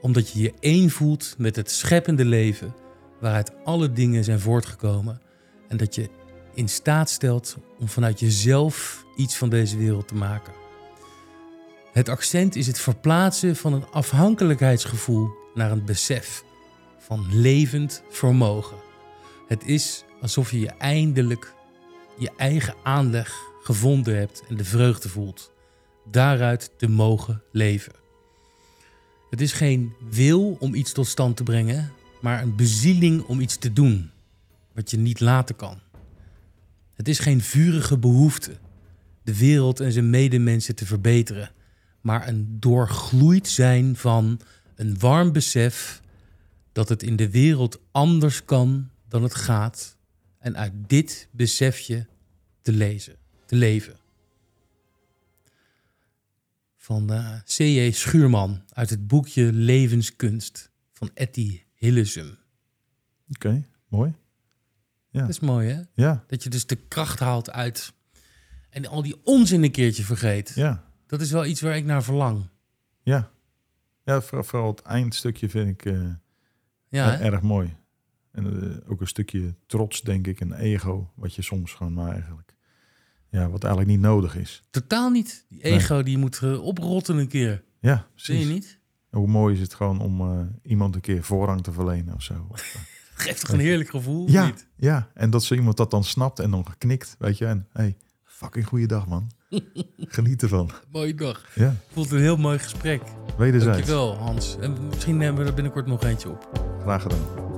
A: omdat je je één voelt met het scheppende leven waaruit alle dingen zijn voortgekomen en dat je in staat stelt om vanuit jezelf iets van deze wereld te maken. Het accent is het verplaatsen van een afhankelijkheidsgevoel naar een besef van levend vermogen. Het is alsof je je eindelijk je eigen aanleg gevonden hebt en de vreugde voelt daaruit te mogen leven. Het is geen wil om iets tot stand te brengen, maar een bezieling om iets te doen wat je niet laten kan. Het is geen vurige behoefte de wereld en zijn medemensen te verbeteren, maar een doorgloeid zijn van een warm besef dat het in de wereld anders kan dan het gaat en uit dit besefje te lezen, te leven. Van eh, C.J. Schuurman uit het boekje Levenskunst van Etty Hillesum.
B: Oké, mooi.
A: Dat is mooi, hè?
B: Ja,
A: Dat je dus de kracht haalt uit. En al die onzin een keertje vergeet.
B: ja.
A: Dat is wel iets waar ik naar verlang.
B: Ja. Ja, voor- vooral het eindstukje vind ik eh,
A: Ja,
B: er-
A: hè?
B: erg mooi. En eh, ook een stukje trots, denk ik, en ego, wat je soms gewoon maar eigenlijk Ja, wat eigenlijk niet nodig is.
A: Totaal niet. Die ego die moet eh, oprotten een keer.
B: Ja,
A: Zie je
B: precies.
A: niet? *laughs*
B: Hoe mooi is het gewoon om eh, iemand een keer voorrang te verlenen of zo. *laughs* Of, eh,
A: Geeft toch een heerlijk gevoel? of
B: ja,
A: Niet?
B: ja, en dat zo iemand dat dan snapt en dan geknikt, weet je. En hey, fucking goeiedag
A: *laughs*
B: man. Geniet ervan.
A: Mooie dag.
B: Ja,
A: Voelt een heel mooi gesprek.
B: wederzijds.
A: Dankjewel, Hans. En misschien nemen we er binnenkort nog eentje op.
B: Graag gedaan.